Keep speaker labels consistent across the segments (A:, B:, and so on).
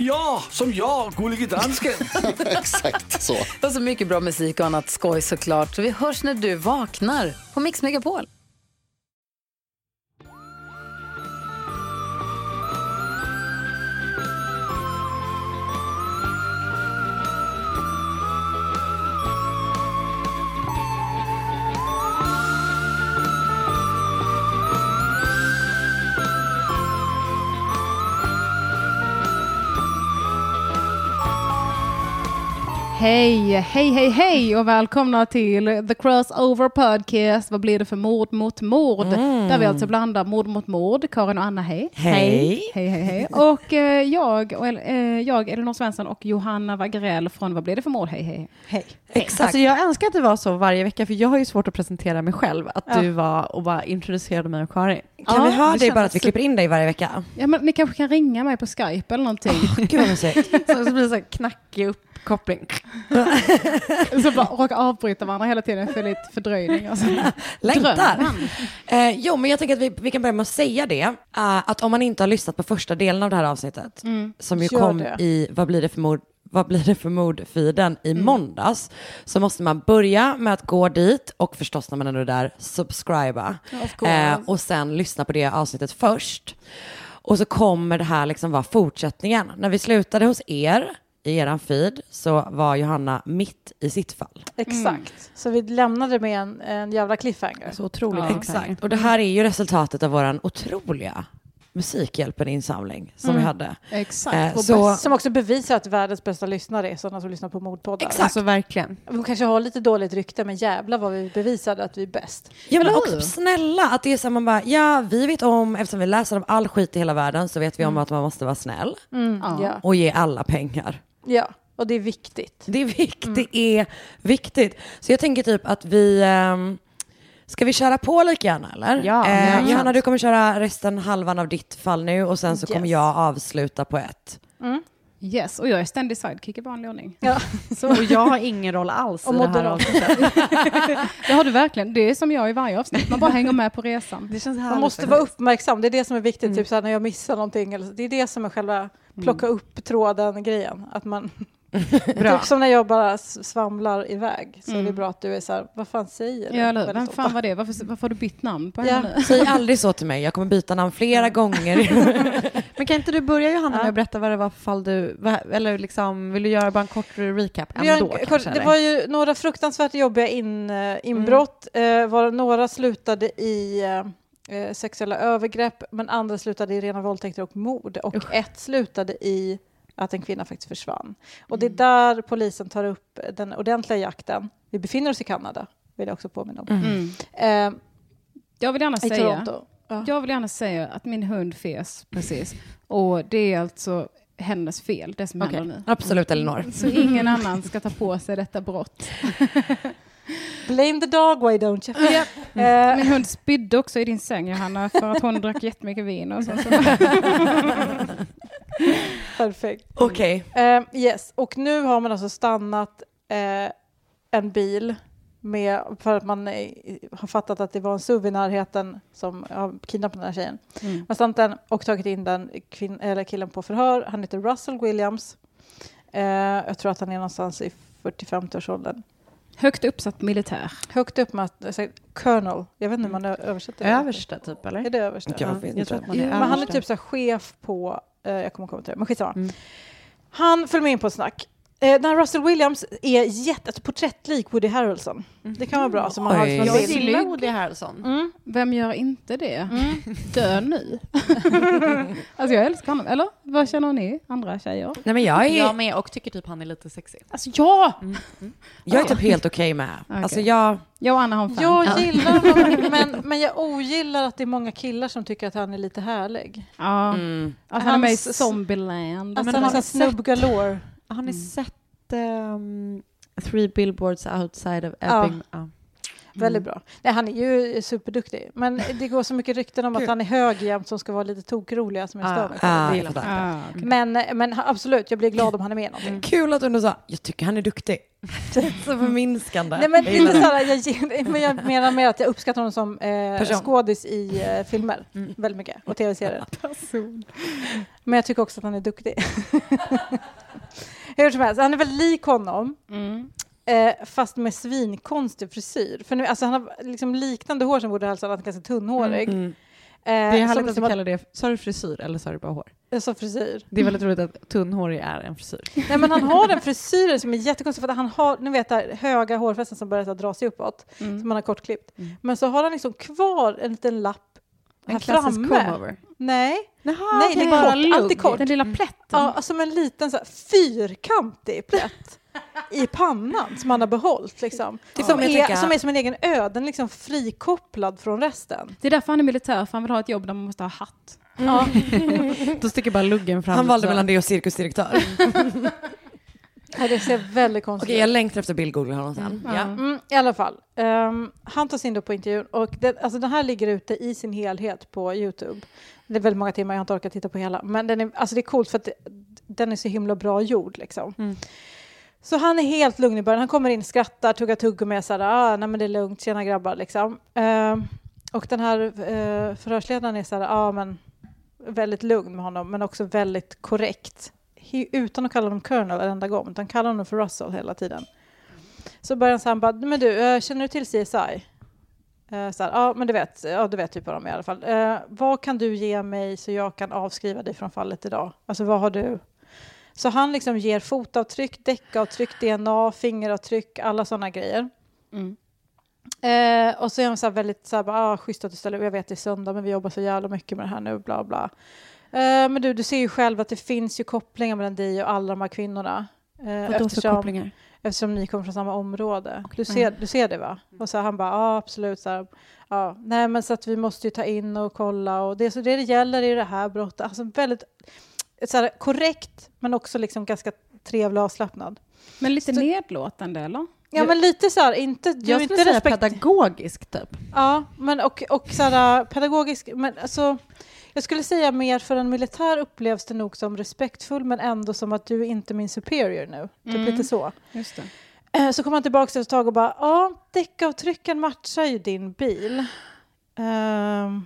A: Ja, som jag, gullige dansken.
B: Exakt så.
C: Och så mycket bra musik och annat skoj såklart. Så vi hörs när du vaknar på Mix Megapol.
D: Hej, hej, hej, hej och välkomna till The Crossover Podcast. Vad blir det för mord mot mord?
E: Mm.
D: Där vi alltså blandar mord mot mord. Karin och Anna, hej.
F: Hej.
D: Hej, hej, hej. Och eh, jag, och, El- eh, jag, Elinor Svensson och Johanna Wagrell från Vad blir det för mord? Hej, hej. Hej.
F: Exakt. Alltså jag önskar att det var så varje vecka, för jag har ju svårt att presentera mig själv. Att du var och bara introducerade mig och Karin.
D: Ja,
G: Kan vi ha
D: det
G: dig bara
D: känns
G: att vi klipper in dig varje vecka?
D: Ja, men ni kanske kan ringa mig på Skype eller någonting.
G: Gud vad mysigt.
F: Så, så blir det så här knackig uppkoppling.
D: Så bara råka avbryta varandra hela tiden för lite fördröjning. Alltså.
E: Mm.
G: Längtar.
D: Drömmen.
G: Eh, jo, men jag tänker att vi, vi kan börja med att säga det. eh, att om man inte har lyssnat på första delen av det här avsnittet, som ju
F: Mm. Gör
G: kom
F: det.
G: i Vad blir det för mord? Vad blir det för mordfiden i
F: Mm.
G: måndags? Så måste man börja med att gå dit och förstås när man ändå är där, subscriba. Eh, och sen lyssna på det avsnittet först. Och så kommer det här liksom vara fortsättningen. När vi slutade hos er i eran feed så var Johanna mitt i sitt fall.
E: Exakt. Så vi lämnade med en, en jävla cliffhanger.
F: Så otroligt.
G: Exakt. Och det här är ju resultatet av våran otroliga Musikhjälpen-insamling som vi hade.
D: Exakt.
G: Eh,
D: Och
G: så-
D: bäst-
E: Som också bevisar att världens bästa lyssnare är sådana som lyssnar på mordpoddar.
F: Alltså verkligen.
E: De kanske har lite dåligt rykte, men jävlar vad vi bevisade att vi är bäst.
G: Ja, men
D: Eller
G: också
D: hur?
G: snälla, att det är så här, man bara, ja vi vet om, eftersom vi läser om all skit i hela världen så vet vi om att man måste vara snäll
D: Ja.
E: Ja.
G: och ge alla pengar.
E: ja, och det är viktigt.
G: Det är, vikt, det är viktigt. Så jag tänker typ att vi, ehm, ska vi köra på lika gärna eller?
F: Ja,
G: eh,
F: men-
G: Johanna du kommer köra resten, halvan av ditt fall nu och sen så kommer
E: Yes.
G: jag avsluta på ett.
D: Yes, och jag är ständig sidekick i vanlig ordning.
E: Ja.
F: Och jag har ingen roll alls
E: Och
F: i det här
E: moderat.
F: avsnittet.
D: Det har du verkligen. Det är som jag i varje avsnitt. Man bara hänger med på resan.
F: Det känns
E: Man
F: härligt.
E: måste vara uppmärksam, det är det som är viktigt,
D: Mm.
E: typ så här när jag missar någonting. Eller, så. det är det som är själva plocka upp tråden-grejen. Att man,
F: Bra.
E: typ som när jag bara s- svamlar iväg, så är det bra att du är så här, vad fan säger du?
D: Mm. Ja, eller hur? Vem
E: Väldigt
D: fan
E: ofta.
D: var det? Varför, varför har du bytt namn på
E: Ja.
D: henne nu?
G: Säg aldrig så till mig, jag kommer byta namn flera gånger.
F: Men kan inte du börja Johanna
E: Ja.
F: med att berätta vad det var för fall du, vad, eller liksom, vill du göra bara en kort recap
E: Vi gör
F: ändå
E: en,
F: kanske?
E: kort, det
F: eller?
E: var ju några fruktansvärt jobbiga in, eh, inbrott. Eh, var, några slutade i eh, eh, sexuella övergrepp, men andra slutade i rena våldtäkter och mord. Och ett slutade i att en kvinna faktiskt försvann. Och det är där polisen tar upp den ordentliga jakten. Vi befinner oss i Kanada, vill jag också påminna om. Eh,
D: Mm. Jag vill gärna
E: I
D: säga,
E: Toronto. Ja.
D: jag vill gärna säga att min hund fes precis. Och det är alltså hennes fel, det som
G: Okej,
D: händer nu. Mm.
G: absolut Elinor.
D: Så ingen annan ska ta på sig detta brott.
E: Blame the dog, why don't you? Eh,
D: Min hund spydde också i din säng, Johanna, för att hon drack jättemycket vin. Och så, så. Mm.
E: perfekt.
G: Okej.
E: Eh, yes, och nu har man alltså stannat eh, en bil med, för att man eh, har fattat att det var en SUV i närheten som har kidnappat den här tjejen. Man har stannat den och tagit in den kvin- eller killen på förhör. Han heter Russell Williams. Eh, jag tror att han är någonstans i 45-årsåldern.
D: Högt uppsatt militär.
E: Högt upp med Colonel. Jag vet inte hur man ö- översätter det.
F: Överste typ eller?
E: Är det överste?
G: Jag vet
F: Jag
G: inte.
F: tror att man
E: Jo,
F: är
E: men han är
F: överste.
E: typ så här chef på, eh, jag kommer komma till det, men skitsamma. Han föll med in på ett snack Eh, när Russell Williams är jätte, alltså porträttlik Woody Harrelson. Det kan vara bra. Som man har
G: Oj.
E: som
G: Jag
E: bild.
D: gillar
H: Woody Harrelson.
D: Vem gör inte det? Dö nu. alltså jag älskar honom. Eller vad känner ni andra tjejer?
G: Nej men jag är,
F: Mm.
H: Jag med och tycker typ han är lite sexig.
D: Alltså ja!
G: jag är typ helt okej med. Alltså jag,
D: Jag och Anna har en fan.
E: Jag gillar honom, men, men jag ogillar att det är många killar som tycker att han är lite härlig.
D: Ja.
G: Mm.
D: Att han är
E: Hans-
D: med i Zombieland.
E: Alltså,
F: men
E: han
F: har
E: är
F: ni
E: sån snubb galore.
F: Har ni sett ehm, Three billboards outside of
E: Ja.
F: Ebbing? Ja. Mm.
E: Väldigt bra. Nej, han är ju superduktig. Men det går så mycket rykten om att han är hög jämt som ska vara lite tokroliga som jag stör mig på.
G: ah,
F: gillar
G: jag fattar.
D: Ah, okej.
E: Men, men han- absolut, jag blir glad om han är med i någonting.
G: Kul att du ändå sa, jag tycker han är duktig. så förminskande.
E: Nej, men,
G: Jag gillar
E: lite
G: det.
E: såhär, jag, gillar- men jag menar mer att jag uppskattar honom som eh,
G: Person.
E: skådis i eh, filmer väldigt mycket och tv-serier. Men jag tycker också att han är duktig. Hur som helst, han är väldigt lik honom. Eh, fast med svinkonstig frisyr. För nu, alltså han har liksom liknande hår som Woody Harrelson, han är ganska tunnhårig. Eh,
F: Det är
E: som,
F: härligt att
E: liksom
F: du
E: har-
F: kallar det, sa du frisyr eller sa du bara hår?
E: jag sa frisyr.
F: Det är väldigt roligt att tunnhårig är en frisyr.
E: Nej men han har den frisyren som är jättekonstig för att han har, ni vet där höga hårfästen som börjar så här dra sig uppåt, som han har kortklippt. Men så har han liksom kvar en liten lapp här
F: En klassisk
E: framme.
F: comeover.
E: Nej,
F: Jaha,
E: Nej det är bara kort, antikort.
D: Den lilla plätten.
E: Ja, som en liten så här, fyrkantig plätt i pannan som han har behållit. Liksom. Som,
G: får mig att
E: är,
G: tänka-
E: som är som en egen ö, den är liksom frikopplad från resten.
D: Det är därför han är militär, för han vill ha ett jobb där man måste ha hatt.
F: Då sticker bara luggen fram.
G: Han valde
F: så.
G: mellan det och cirkusdirektör. Okej,
E: Nej, det ser väldigt konstigt ut.
G: jag längtar efter bildgoogla honom sen. Ja.
E: Mm, I alla fall. Ehm, han tas in då på intervjun och det, alltså den här ligger ute i sin helhet på Youtube. Det är väldigt många timmar, jag har inte orkat titta på hela. Men den är, alltså det är coolt för att det, den är så himla bra gjord liksom. Så han är helt lugn i början. Han kommer in, skrattar, tuggar tuggummi och såhär, ah, nej men det är lugnt, tjena grabbar liksom. Ehm, och den här eh, förhörsledaren är såhär, ja ah, men väldigt lugn med honom, men också väldigt korrekt. He, utan att kalla honom Colonel en enda gång, utan kallar honom för Russell hela tiden. Så börjar han så här, han bara, men du, eh, känner du till CSI? Eh, Så här, ja, men du vet, ja, du vet typ vad de är i alla fall. Eh, vad kan du ge mig så jag kan avskriva dig från fallet idag? Alltså vad har du? Så han liksom ger fotavtryck, däckavtryck, DNA, fingeravtryck, alla sådana grejer.
F: Mm.
E: Eh, och så är han så här väldigt så här, bara, ah, schysst att du ställer upp. jag vet det är söndag men vi jobbar så jävla mycket med det här nu, bla bla. Eh, men du, du ser ju själv att det finns ju kopplingar mellan dig och alla de här kvinnorna. Eh,
F: Vadå för kopplingar?
E: Eftersom ni kommer från samma område. Du, ser,
F: Mm.
E: du ser det va? Och så han bara, ja absolut. Så här, ja. Nej men så att vi måste ju ta in och kolla och det, så det, det gäller är det här brottet. Alltså väldigt så här, korrekt men också liksom ganska trevlig och avslappnad.
D: Men lite nedlåtande eller?
E: Ja men lite så här, inte, du är
F: Jag
E: inte
F: skulle säga
E: respekt-
F: pedagogisk typ.
E: Ja, men och, och så här, pedagogisk, men alltså jag skulle säga mer för en militär upplevs det nog som respektfull men ändå som att du är inte min superior nu. Typ
F: Mm.
E: lite så.
D: Just det.
E: Eh, Så kom han tillbaka efter ett tag och bara, ja, däckavtrycken matchar ju din bil. Ehm,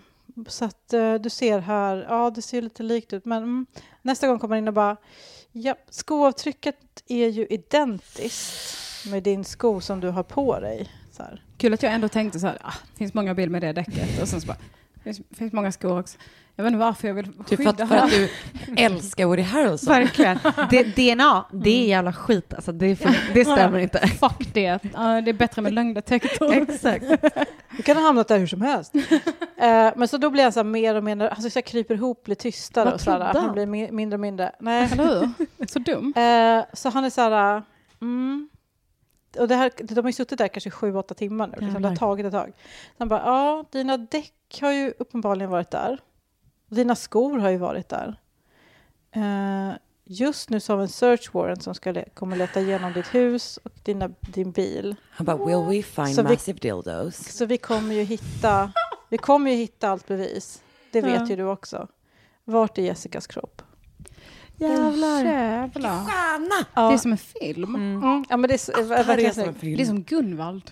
E: så att eh, du ser här, ja det ser ju lite likt ut, men mm. nästa gång kommer han in och bara, ja, skoavtrycket är ju identiskt med din sko som du har på dig. Så här.
D: Kul att jag ändå tänkte så här, ah, det finns många bilder med det däcket och sen så bara, det finns, finns många skor också. Jag vet inte varför jag vill
G: Typ för att,
D: skydda
G: för att
D: honom.
G: du älskar Woody Harrelson.
F: Verkligen. DNA, det är jävla skit alltså. Det, är för, det stämmer inte.
D: Fuck det, Ja, det är bättre med lögndetektor.
F: Exakt.
E: Du kan ha hamnat där hur som helst. Eh, men så då blir han så här mer och mer, alltså så jag kryper ihop, blir tystare
F: Vad
E: och så här,
F: trodde
E: han
F: han?
E: blir mi- mindre och mindre. Nej.
F: Oh.
D: Eller hur? Så dum.
E: Eh, så han är så här... eh, Mm. Och det här, de har ju suttit där kanske sju, åtta timmar nu. Liksom. Det har
F: Jävlar.
E: tagit ett tag. Så han bara, ja, dina däck har ju uppenbarligen varit där. Och dina skor har ju varit där. Eh, just nu så har vi en search warrant som ska le- kommer leta igenom ditt hus och dina, din bil.
G: Han bara, will we find
E: Så vi-
G: massive dildos?
E: Så vi kommer ju hitta, vi kommer ju hitta allt bevis. Det vet ju du också. Vart är Jessicas kropp?
F: Jävlar.
D: Jävlar.
G: Stjärna!
D: Det är
E: Ja,
D: som en film.
E: mm, ja men det är, så- är
G: Ah, Det är
E: verkligen
G: som
E: snyggt.
G: en
D: Det är
G: film.
D: som Gunvald.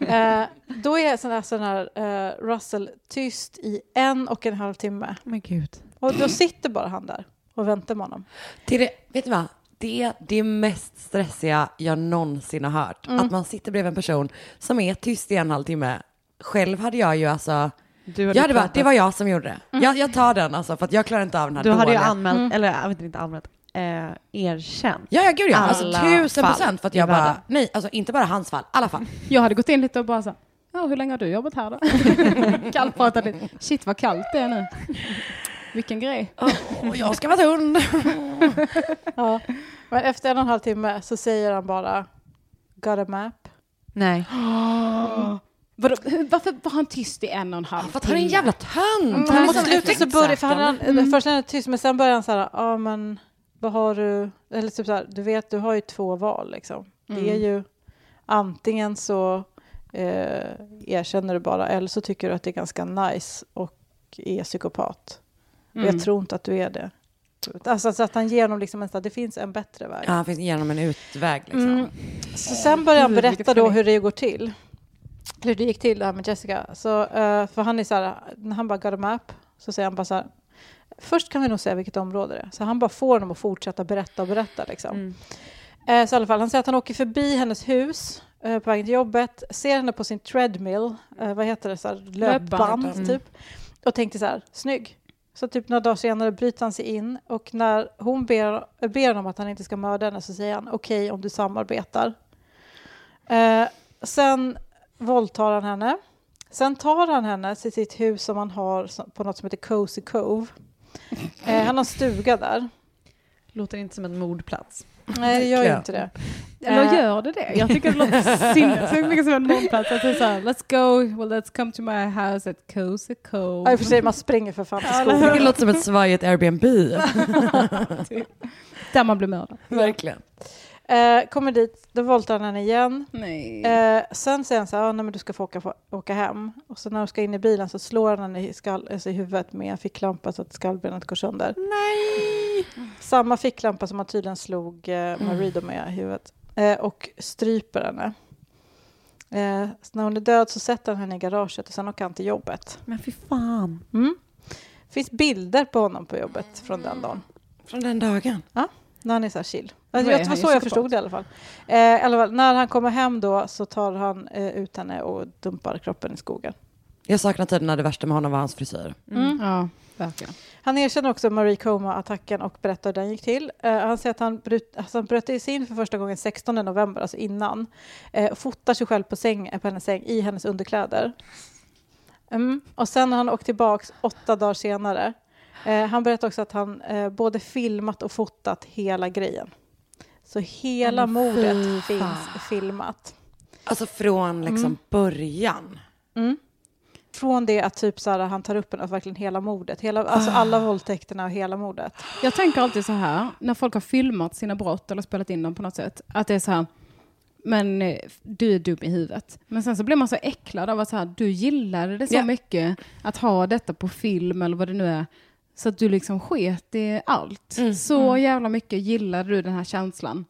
E: Eh, då är sån här, sån här eh, Russell tyst i en och en halv timme.
F: Men gud.
E: Och då sitter bara han där och väntar med honom.
G: Det är det, vet du vad? Det är det mest stressiga jag någonsin har hört. Att man sitter bredvid en person som är tyst i en halvtimme. Själv hade jag ju alltså,
F: Du
G: jag hade bara,
F: pratat-
G: det var jag som gjorde det. Jag, jag tar den alltså för att jag klarar inte av den här
F: du hade ju
G: dåliga-
F: anmält, eller jag vet inte anmält, eh, erkänt.
G: Ja, ja gud ja. Alltså
F: Alla
G: tusen
F: fall
G: procent för att
F: i
G: jag bara,
F: världen.
G: nej, alltså inte bara hans fall, alla
E: Mm.
G: fall.
D: Jag hade gått in lite och bara så här, ja hur länge har du jobbat här då? Kallpratat lite. Shit vad kallt det är nu. Vilken grej.
G: Och jag ska vara hund.
E: Ja. Men efter en och en halv timme så säger han bara Got a map.
F: Nej.
D: Vadå, varför var han tyst i en och en halv
G: För att han är en jävla tönt.
E: Men
G: Han
E: mot
G: måste
E: slutet så börjar, för han,
G: han...
E: han, först är han tyst men sen börjar han så här, ja men vad har du, eller typ så här, du vet du har ju två val liksom. Det är ju antingen så eh, erkänner du bara eller så tycker du att det är ganska nice och är psykopat. Och jag tror inte att du är det. Alltså så att han ger honom liksom en så här, det finns en bättre väg.
G: Ja, han finns genom en utväg liksom.
E: Mm. Så sen började han
D: Gud, vilket
E: berätta då
D: geni.
E: hur det går till. Hur det gick till det här med Jessica. Så, eh, för han är så här, när han bara got a map så säger han bara så här. Först kan vi nog säga vilket område det är. Så han bara får dem att fortsätta berätta och berätta liksom. Eh, så i alla fall, han säger att han åker förbi hennes hus eh, på vägen till jobbet, ser henne på sin treadmill, eh, vad heter det, så här, löpband typ. Och tänkte så här, snygg. Så typ några dagar senare bryter han sig in och när hon ber, ber honom att han inte ska mörda henne så säger han okej om du samarbetar. Eh, sen våldtar han henne. Sen tar han henne till sitt hus som han har som- på något som heter Cozy Cove. Eh, han har en stuga där.
F: Låter inte som en mordplats.
E: Nej, det gör ju inte det.
D: Eller gör det det? Jag tycker det låter sinnessjukt mycket som en månplats. Att det är så här, let's go, well let's come to my house at cozy
E: Ja, i och
D: cove.
E: för sig, man springer för fan till skolan.
G: Det låter som ett svajigt Airbnb.
D: Där man blir mördad.
G: Verkligen.
E: Eh, kommer dit, då våldtar han henne igen.
D: Nej.
E: Eh, sen säger han så här, ah, nej, men du ska få åka, få åka hem. Och så när de ska in i bilen så slår han henne i, skall, alltså i huvudet med en ficklampa så att skallbenet går sönder. Nej! Samma ficklampa som han tydligen slog eh, Marido med i huvudet. Eh, och stryper henne. Eh, så när hon är död så sätter han henne i garaget och sen åker han till jobbet.
F: Men fy fan.
E: Mm. finns bilder på honom på jobbet från den dagen.
G: Från den dagen.
E: När han är så här chill.
D: är
E: Alltså, jag, det
D: han
E: var
D: ju
E: så jag
D: psykopat.
E: förstod det i alla fall. Eh, i alla fall. När han kommer hem då så tar han eh, ut henne och dumpar kroppen i skogen.
G: Jag saknar tiden när det värsta med honom var hans frisyr.
D: Mm. Ja, verkligen.
E: Han erkänner också Marie Coma-attacken och berättar hur den gick till. Eh, han säger att han, brut, alltså han bröt sig in för första gången 16 november, alltså innan. Eh, och fotar sig själv på, säng, eh, på hennes säng i hennes underkläder. Mm. Och sen har han åkt tillbaks åtta dagar senare. Eh, han berättar också att han eh, både filmat och fotat hela grejen. Så hela mordet finns filmat.
G: Alltså från liksom början.
E: Mm. Från det att typ så här, han tar upp den, och verkligen hela mordet. Hela, alltså alla våldtäkterna och hela mordet.
D: Jag tänker alltid så här, när folk har filmat sina brott eller spelat in dem på något sätt, att det är så här, men eh, du är dum i huvudet. Men sen så blir man så äcklad av att så här, du gillade det så
G: Ja.
D: mycket att ha detta på film eller vad det nu är, så att du liksom sket i allt.
G: Mm,
D: Så jävla mycket gillade du den här känslan.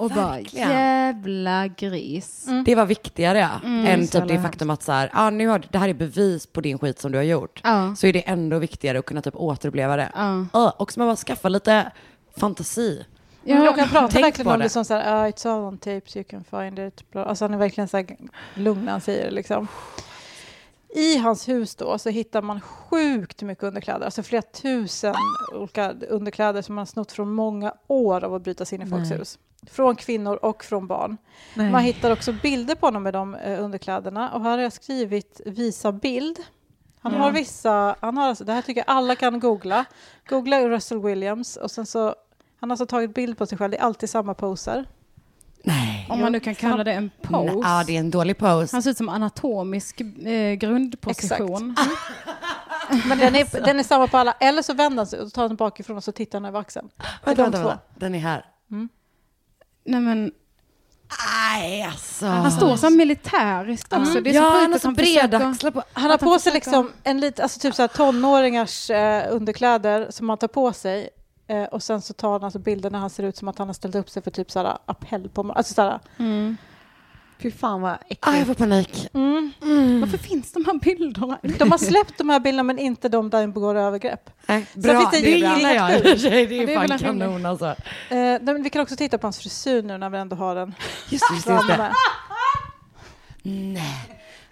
D: Och bara,
G: Mm, Verkligen. Mm.
D: jävla gris.
G: Det var viktigare än
D: så
G: typ det
D: jävla
G: faktum att så här, ah, nu har, det här är bevis på din skit som du har gjort.
D: Ja.
G: Så är det ändå viktigare att kunna typ återuppleva det.
D: Ja.
G: Ah, och så man bara skaffa lite fantasi.
E: Men och han pratar
G: Tänk
E: verkligen
G: på
E: om det
G: det.
E: som så här, "Ah, it's all on tapes, you can find it. Bla- Alltså han är verkligen så här lugn när han säger det liksom. I hans hus då så hittar man sjukt mycket underkläder, alltså flera tusen olika underkläder som man har snott från många år av att bryta sig in i folks hus. Från kvinnor och från barn. Man hittar också bilder på honom med de eh, underkläderna och här har jag skrivit visa bild. Han har vissa, han har alltså, det här tycker jag alla kan googla. Googla Russell Williams och sen så, han har alltså tagit bild på sig själv, det är alltid samma poser.
G: Nej.
D: Om man nu kan kalla det en pose.
G: Ja, ah, det är en dålig pose.
D: Han ser ut som anatomisk eh, grundposition.
E: Men den
G: Alltså.
E: är, den är samma på alla, eller så vänder han sig och tar den bakifrån och så tittar han över axeln. Det är
G: Vänta,
E: de
G: vänta,
E: två.
G: vänta. Den är här.
D: Nej, men,
G: Nej, alltså.
D: Han står som militärisk också. Det är
G: ja,
D: så sjukt
G: han har
D: att
G: så
D: han
G: breda
D: försöker...
G: axlar på.
E: Han har
D: Att han
E: på sig
D: försöker-
E: liksom en lite, alltså typ så här tonåringars eh, underkläder som han tar på sig eh, och sen så tar han alltså bilder när han ser ut som att han har ställt upp sig för typ så här appell på alltså så här,
D: Mm.
F: Fy fan vad äckligt.
G: Ah, jag får panik.
D: Varför finns de här bilderna?
E: mm. De har släppt de här bilderna men inte de där det begår övergrepp.
G: Nej,
E: Sen
G: bra,
E: finns det
G: det,
E: ju bra.
G: gillar jag i och för sig. Det
D: Ja, det är
G: är
D: väl
G: fan
D: en rimlig-
G: kanon alltså.
E: Eh, nej, men vi kan också titta på hans frisyr nu när vi ändå har den
G: Just det, just det, just det.
E: framme.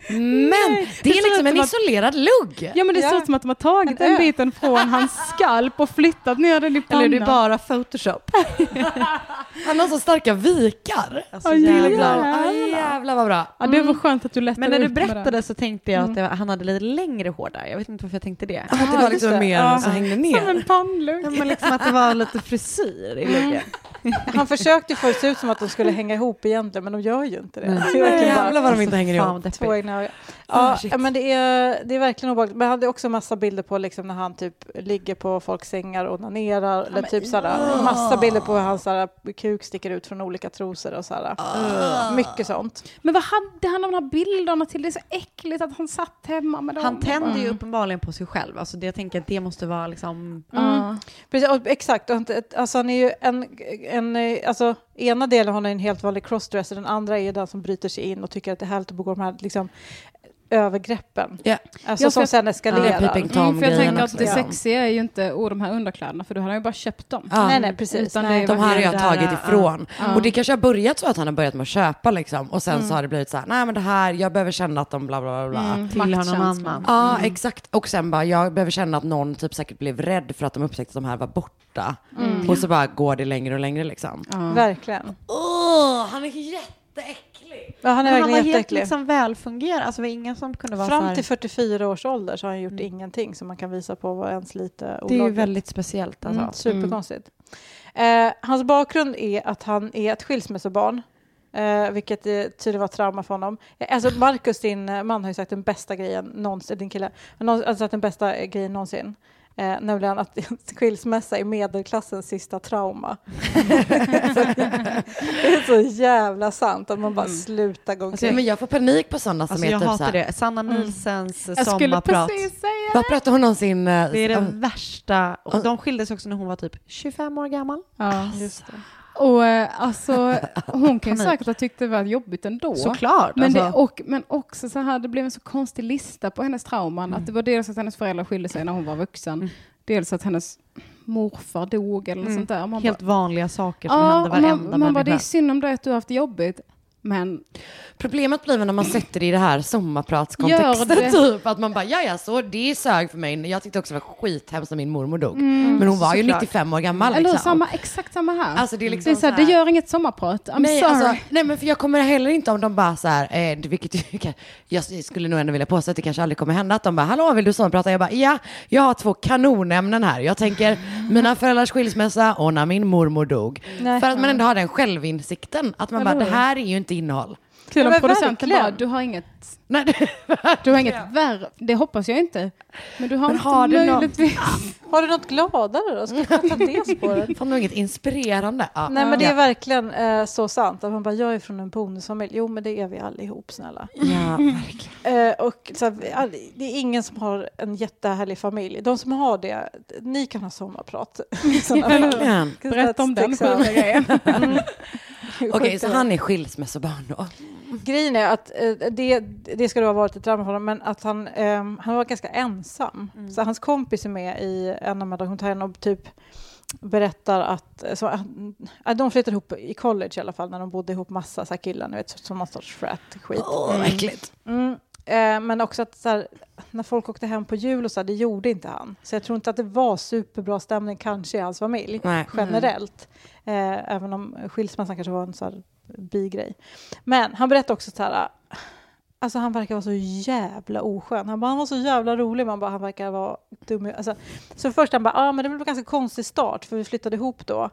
G: Men det är
D: ser
G: liksom
D: ut
G: en
D: som att-
G: isolerad lugg.
D: Ja men det ser
E: Ja.
D: ut som att de har tagit den
E: ö.
D: biten från hans skalp och flyttat ner den i pannan.
F: Eller är det bara photoshop?
G: Han har så starka vikar.
F: Alltså,
D: Åh,
F: jävlar.
D: jävlar.
G: Aj, jävlar vad bra.
D: ja, det var skönt att du lättade
F: Men när du
D: upp med det. Mm.
F: berättade så tänkte jag att det var, han hade lite längre hår där. Jag vet inte varför jag tänkte det.
G: Att det var liksom mer som hängde
D: Som en
G: ner.
D: pannlugg.
F: Ja, men liksom att det var lite frisyr i
G: Mm.
F: luggen.
E: Han försökte ju få det att se ut som att de skulle hänga ihop egentligen, men de gör ju inte det. det är
G: Nej,
E: verkligen bara
G: jävlar vad de inte hänger
F: Fan
G: ihop.
F: vad
E: två
F: deppigt.
E: egna ögon.
G: Ah,
E: Ja,
G: shit.
E: ja, men det är, det är verkligen obehagligt. Men jag hade också massa bilder på liksom när han typ ligger på folks sängar och onanerar. eller typ såhär, massa bilder på hur hans såhär, kuk sticker ut från olika trosor och sådär. Mycket sånt.
D: Men vad hade han av de här bilderna till? Det är så äckligt att han satt hemma med dem.
F: Han tänder ju uppenbarligen på sig själv. Alltså det, jag tänker att det måste vara
G: Mm.
F: liksom...
E: Ja. Mm. Precis, och, exakt. Och, inte- alltså, han är ju en, en, eh, alltså, ena delen av honom är en helt vanlig crossdresser, den andra är ju den som bryter sig in och tycker att det är härligt att begå de här liksom, övergreppen.
G: Ja.
E: Alltså,
D: Ja, för
E: som
D: jag-
E: sen
G: Ja,
E: eskalerar.
G: peeping
D: Mm, för jag
G: Tom-grejen
D: tänker
G: också,
D: att det
G: ja.
D: sexiga är ju inte oh, de här underkläderna för du har ju bara köpt dem.
G: Ja.
E: nej, nej, precis.
D: Utan
E: nej.
D: det är
G: De här har
D: verkligen-
G: jag tagit ifrån. Och det kanske har börjat så att han har börjat med att köpa liksom. Och sen
F: Mm.
G: så har det blivit så här, nej men det här, jag behöver känna att de bla bla bla. bla.
F: Tillhör någon
D: maktkänslan.
F: annan.
G: Ja, exakt. Och sen bara, jag behöver känna att någon typ säkert blev rädd för att de upptäckte att de här var borta.
F: Mm.
G: Och så bara går det längre och längre liksom. Åh,
E: Verkligen.
G: han är jätteäcklig.
E: Ja, han är
F: Men han var
E: verkligen
F: helt
E: jätteäcklig.
F: liksom välfungerande. Alltså det var ingen som kunde vara så
E: Fram
F: här-
E: till 44 års ålder så har han gjort ingenting som man kan visa på var ens lite
F: Mm. Det är ju
E: olagligt.
F: väldigt speciellt alltså.
E: mm, superkonstigt. Eh, hans bakgrund är att han är ett skilsmässobarn. Eh, vilket eh, tydligen var ett trauma för honom. Eh, Alltså Marcus, din eh, man, har ju sagt den bästa grejen någonsin, din kille, har någons- alltså sagt den bästa eh, grejen någonsin. Eh, nämligen att skilsmässa är medelklassens sista trauma. det är så jävla sant att man bara slutar
D: Alltså,
E: gå omkring.
G: Alltså, Men jag får panik på sådana som
F: Alltså
G: är
F: jag
G: typ så
F: hatar
G: här,
F: det. Sanna Nilsens
D: Jag skulle
F: sommarprat.
D: precis säga
G: vad pratar hon någonsin? eh,
F: Det är det
G: om-
F: värsta. Och de skildes också när hon var typ 25 år gammal.
D: ja. Och eh, alltså, hon kan ju säkert ha tyckt det var jobbigt ändå.
F: Såklart.
D: Men, det,
F: alltså.
D: och, men också så här, det blev en så konstig lista på hennes trauman. Att det var dels att hennes föräldrar skilde sig när hon var vuxen. Dels att hennes morfar dog eller något sånt där. Man
F: Helt
D: bara,
F: vanliga saker som
D: ja,
F: händer
D: och
F: varenda
D: man, man bara, det är
F: människa.
D: synd om dig att du har haft det jobbigt. Men
G: Problemet blir väl när man sätter det i det här
D: Gör det.
G: sommarpratskontexten typ. Att man bara, ja ja så det sög för mig. Jag tyckte också det var skithemskt när min mormor dog.
F: Mm.
G: men hon var ju 95 år gammal
D: eller hur,
G: liksom.
D: samma, exakt samma här.
G: Alltså, det är liksom
D: så här,
G: så här-
D: det gör inget sommarprat. I'm
G: nej,
D: sorry.
G: alltså, nej men för jag kommer heller inte om de bara så här, eh, det- vilket ju kan- jag skulle nog ändå vilja påstå att det kanske aldrig kommer hända att de bara, hallå vill du sommarprata? Jag bara, ja, jag har två kanonämnen här. Jag tänker mina föräldrars skilsmässa och när min mormor dog.
E: Nej.
G: För att man ändå har den självinsikten, att man bara, det här är ju inte innehåll.
D: Kul om
E: men
D: producenten bara,
E: verkligen.
D: du har inget,
G: Nej,
D: du har inget värre. Det hoppas jag inte. Men du har
G: Men
D: inte
G: har du någon-
D: möjligtvis.
E: Har du något gladare då? Ska vi prata det spåret?
G: Fan, det var inget inspirerande. Ja.
E: Nej men det är verkligen eh, så sant. Att man bara, jag är från en bonusfamilj. Jo men det är vi allihop snälla.
G: Ja, verkligen.
E: Eh, och så här, vi- all- det är ingen som har en jättehärlig familj. De som har det, ni kan ha sommarprat. i sådana fall.
G: Verkligen.
D: Berätta om den
E: Stick så-
D: sjuka grejen.
E: Mm. Sjukt.
G: Okej, så han är skilsmässobarn då?
E: Grejen är att eh, det, det ska då ha varit ett trauma för honom, men att han, ehm, han var ganska ensam.
G: Mm.
E: Så hans kompis är med i en av de här dokumentärerna och typ berättar att, eh, så, att att de flyttade ihop i college i alla fall när de bodde ihop massa så här killar, ni vet, som någon sorts frat-skit.
G: Åh, vad äckligt.
E: Mm. Eh, men också att så här, när folk åkte hem på jul och så här, det gjorde inte han. Så jag tror inte att det var superbra stämning kanske i hans familj
G: Nej.
E: generellt. Eh, även om skilsmässan kanske var en så här bigrej. Men han berättade också så här, alltså han verkar vara så jävla oskön. Han bara, han var så jävla rolig, man bara, han verkar vara dum. i- Alltså, så först han bara, ja ah, men det blev en ganska konstig start för vi flyttade ihop då.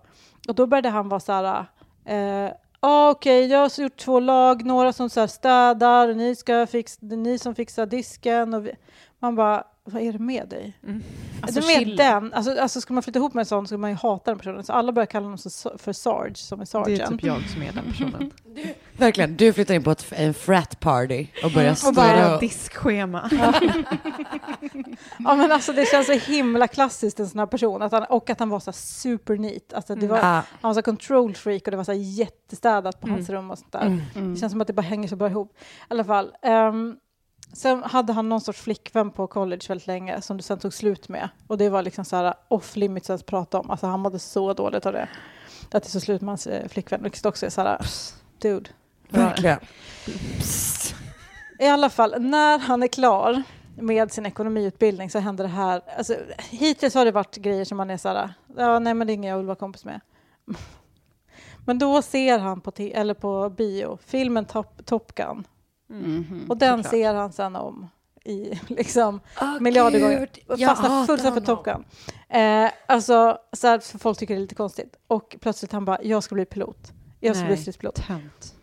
E: Och då började han vara så här, eh, ah, okej jag har gjort två lag, några som så här städar, ni, ska fix, det är ni som fixar disken. Och vi, man bara, vad är det med dig? Alltså,
D: Alltså,
E: med
D: chill.
E: den, alltså, alltså skulle man flytta ihop med en sån skulle man ju hata den personen. Så alla börjar kalla honom så- för Sarge, som
F: Det
E: är
F: är
E: Sargen.
F: typ jag som är den personen.
G: Verkligen, du flyttar in på ett, en frat party och börjar
E: Och bara-
G: styra upp.
F: diskschema.
E: Ja, men alltså, det känns så himla klassiskt en sån här person. Att han, och att han var så här super neat. Alltså, det var,
G: Ja.
E: Han var så här control freak och det var så här jättestädat på hans rum och sånt där.
G: Mm.
E: Det känns som att det bara hänger så bra ihop. I alla fall. ehm, sen hade han någon sorts flickvän på college väldigt länge som det sen tog slut med. Och det var liksom så här off limits att prata om. Alltså han mådde så dåligt av det. Att det tog slut med hans eh, flickvän. Vilket också är så här, dude.
G: Verkligen.
E: I alla fall, när han är klar med sin ekonomiutbildning så händer det här. Alltså, hittills har det varit grejer som man är så här, ja, nej men det är ingen jag vill vara kompis med. Men då ser han på, te- eller på bio filmen Top, Top Gun
G: Mm.
E: och den ser han sen om i liksom miljarder gånger.
G: jag
E: Fastnar
G: hatar
E: fullständigt för Top Gun. Eh, alltså, så här, för folk tycker det är lite konstigt. Och plötsligt han bara, jag ska bli pilot. Jag ska bli
G: Nej.
E: stridspilot.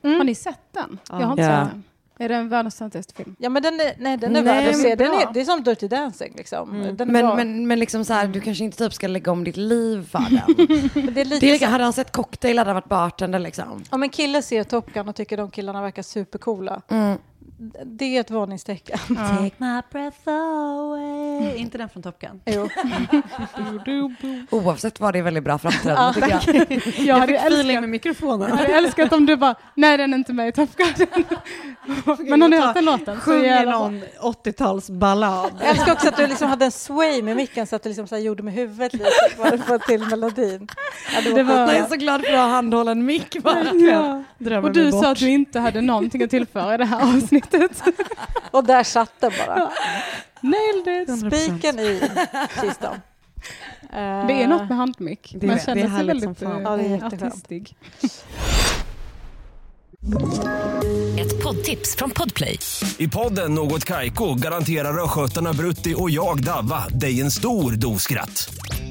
E: Mm.
D: Har ni sett den? Jag har inte
G: Ja.
D: sett den. Är den världens töntigaste film?
E: Ja men den är, nej, den
G: Nej,
E: är värd att
G: men Mm.
E: se. Den
D: bra.
E: är, det är som Dirty Dancing liksom. Den är bra.
G: Men, men, men liksom så här, du kanske inte typ ska lägga om ditt liv för den.
E: Mm. det
G: Det
E: är lite
G: är, lika- hade han sett cocktail hade han varit bartender liksom.
E: Om en kille ser Top Gun och tycker de killarna verkar supercoola,
G: Mm.
E: det är ett varningstecken.
F: Take my breath away. Inte den från Top Gun.
E: Jo.
G: Oavsett var det är väldigt bra framträdande tycker jag.
D: Jag hade ju
F: Feeling
D: älskat,
F: med mikrofonen.
D: jag hade älskat om du bara, nej den är inte med i Top Gun. Men har ni hört den låten? Så
F: Sjunger
D: jävla bra.
F: någon 80-talsballad.
E: Jag älskar också att du liksom hade en sway med micken så att du liksom så här gjorde med huvudet lite bara för att till melodin. Ja, det var
D: var-
G: Jag
E: skitbra.
G: är så glad för att ha handhållen mick. verkligen.
D: Ja.
F: Drömmer
D: Och du
F: mig bort.
D: sa att du inte hade någonting att tillföra i det här avsnittet.
E: Och där satt den bara.
D: Nailed it!
E: Spiken i kistan. Eh,
D: Det är något med handmick.
F: Det är-
D: Man
F: det är
D: känner sig
F: härligt som
D: väldigt
F: fan.
D: eh,
E: Ja, det är jätteskönt.
D: artistig.
I: Ett poddtips från Podplay.
J: I podden Något Kaiko garanterar östgötarna Brutti och jag, Davva, dig en stor dos skratt.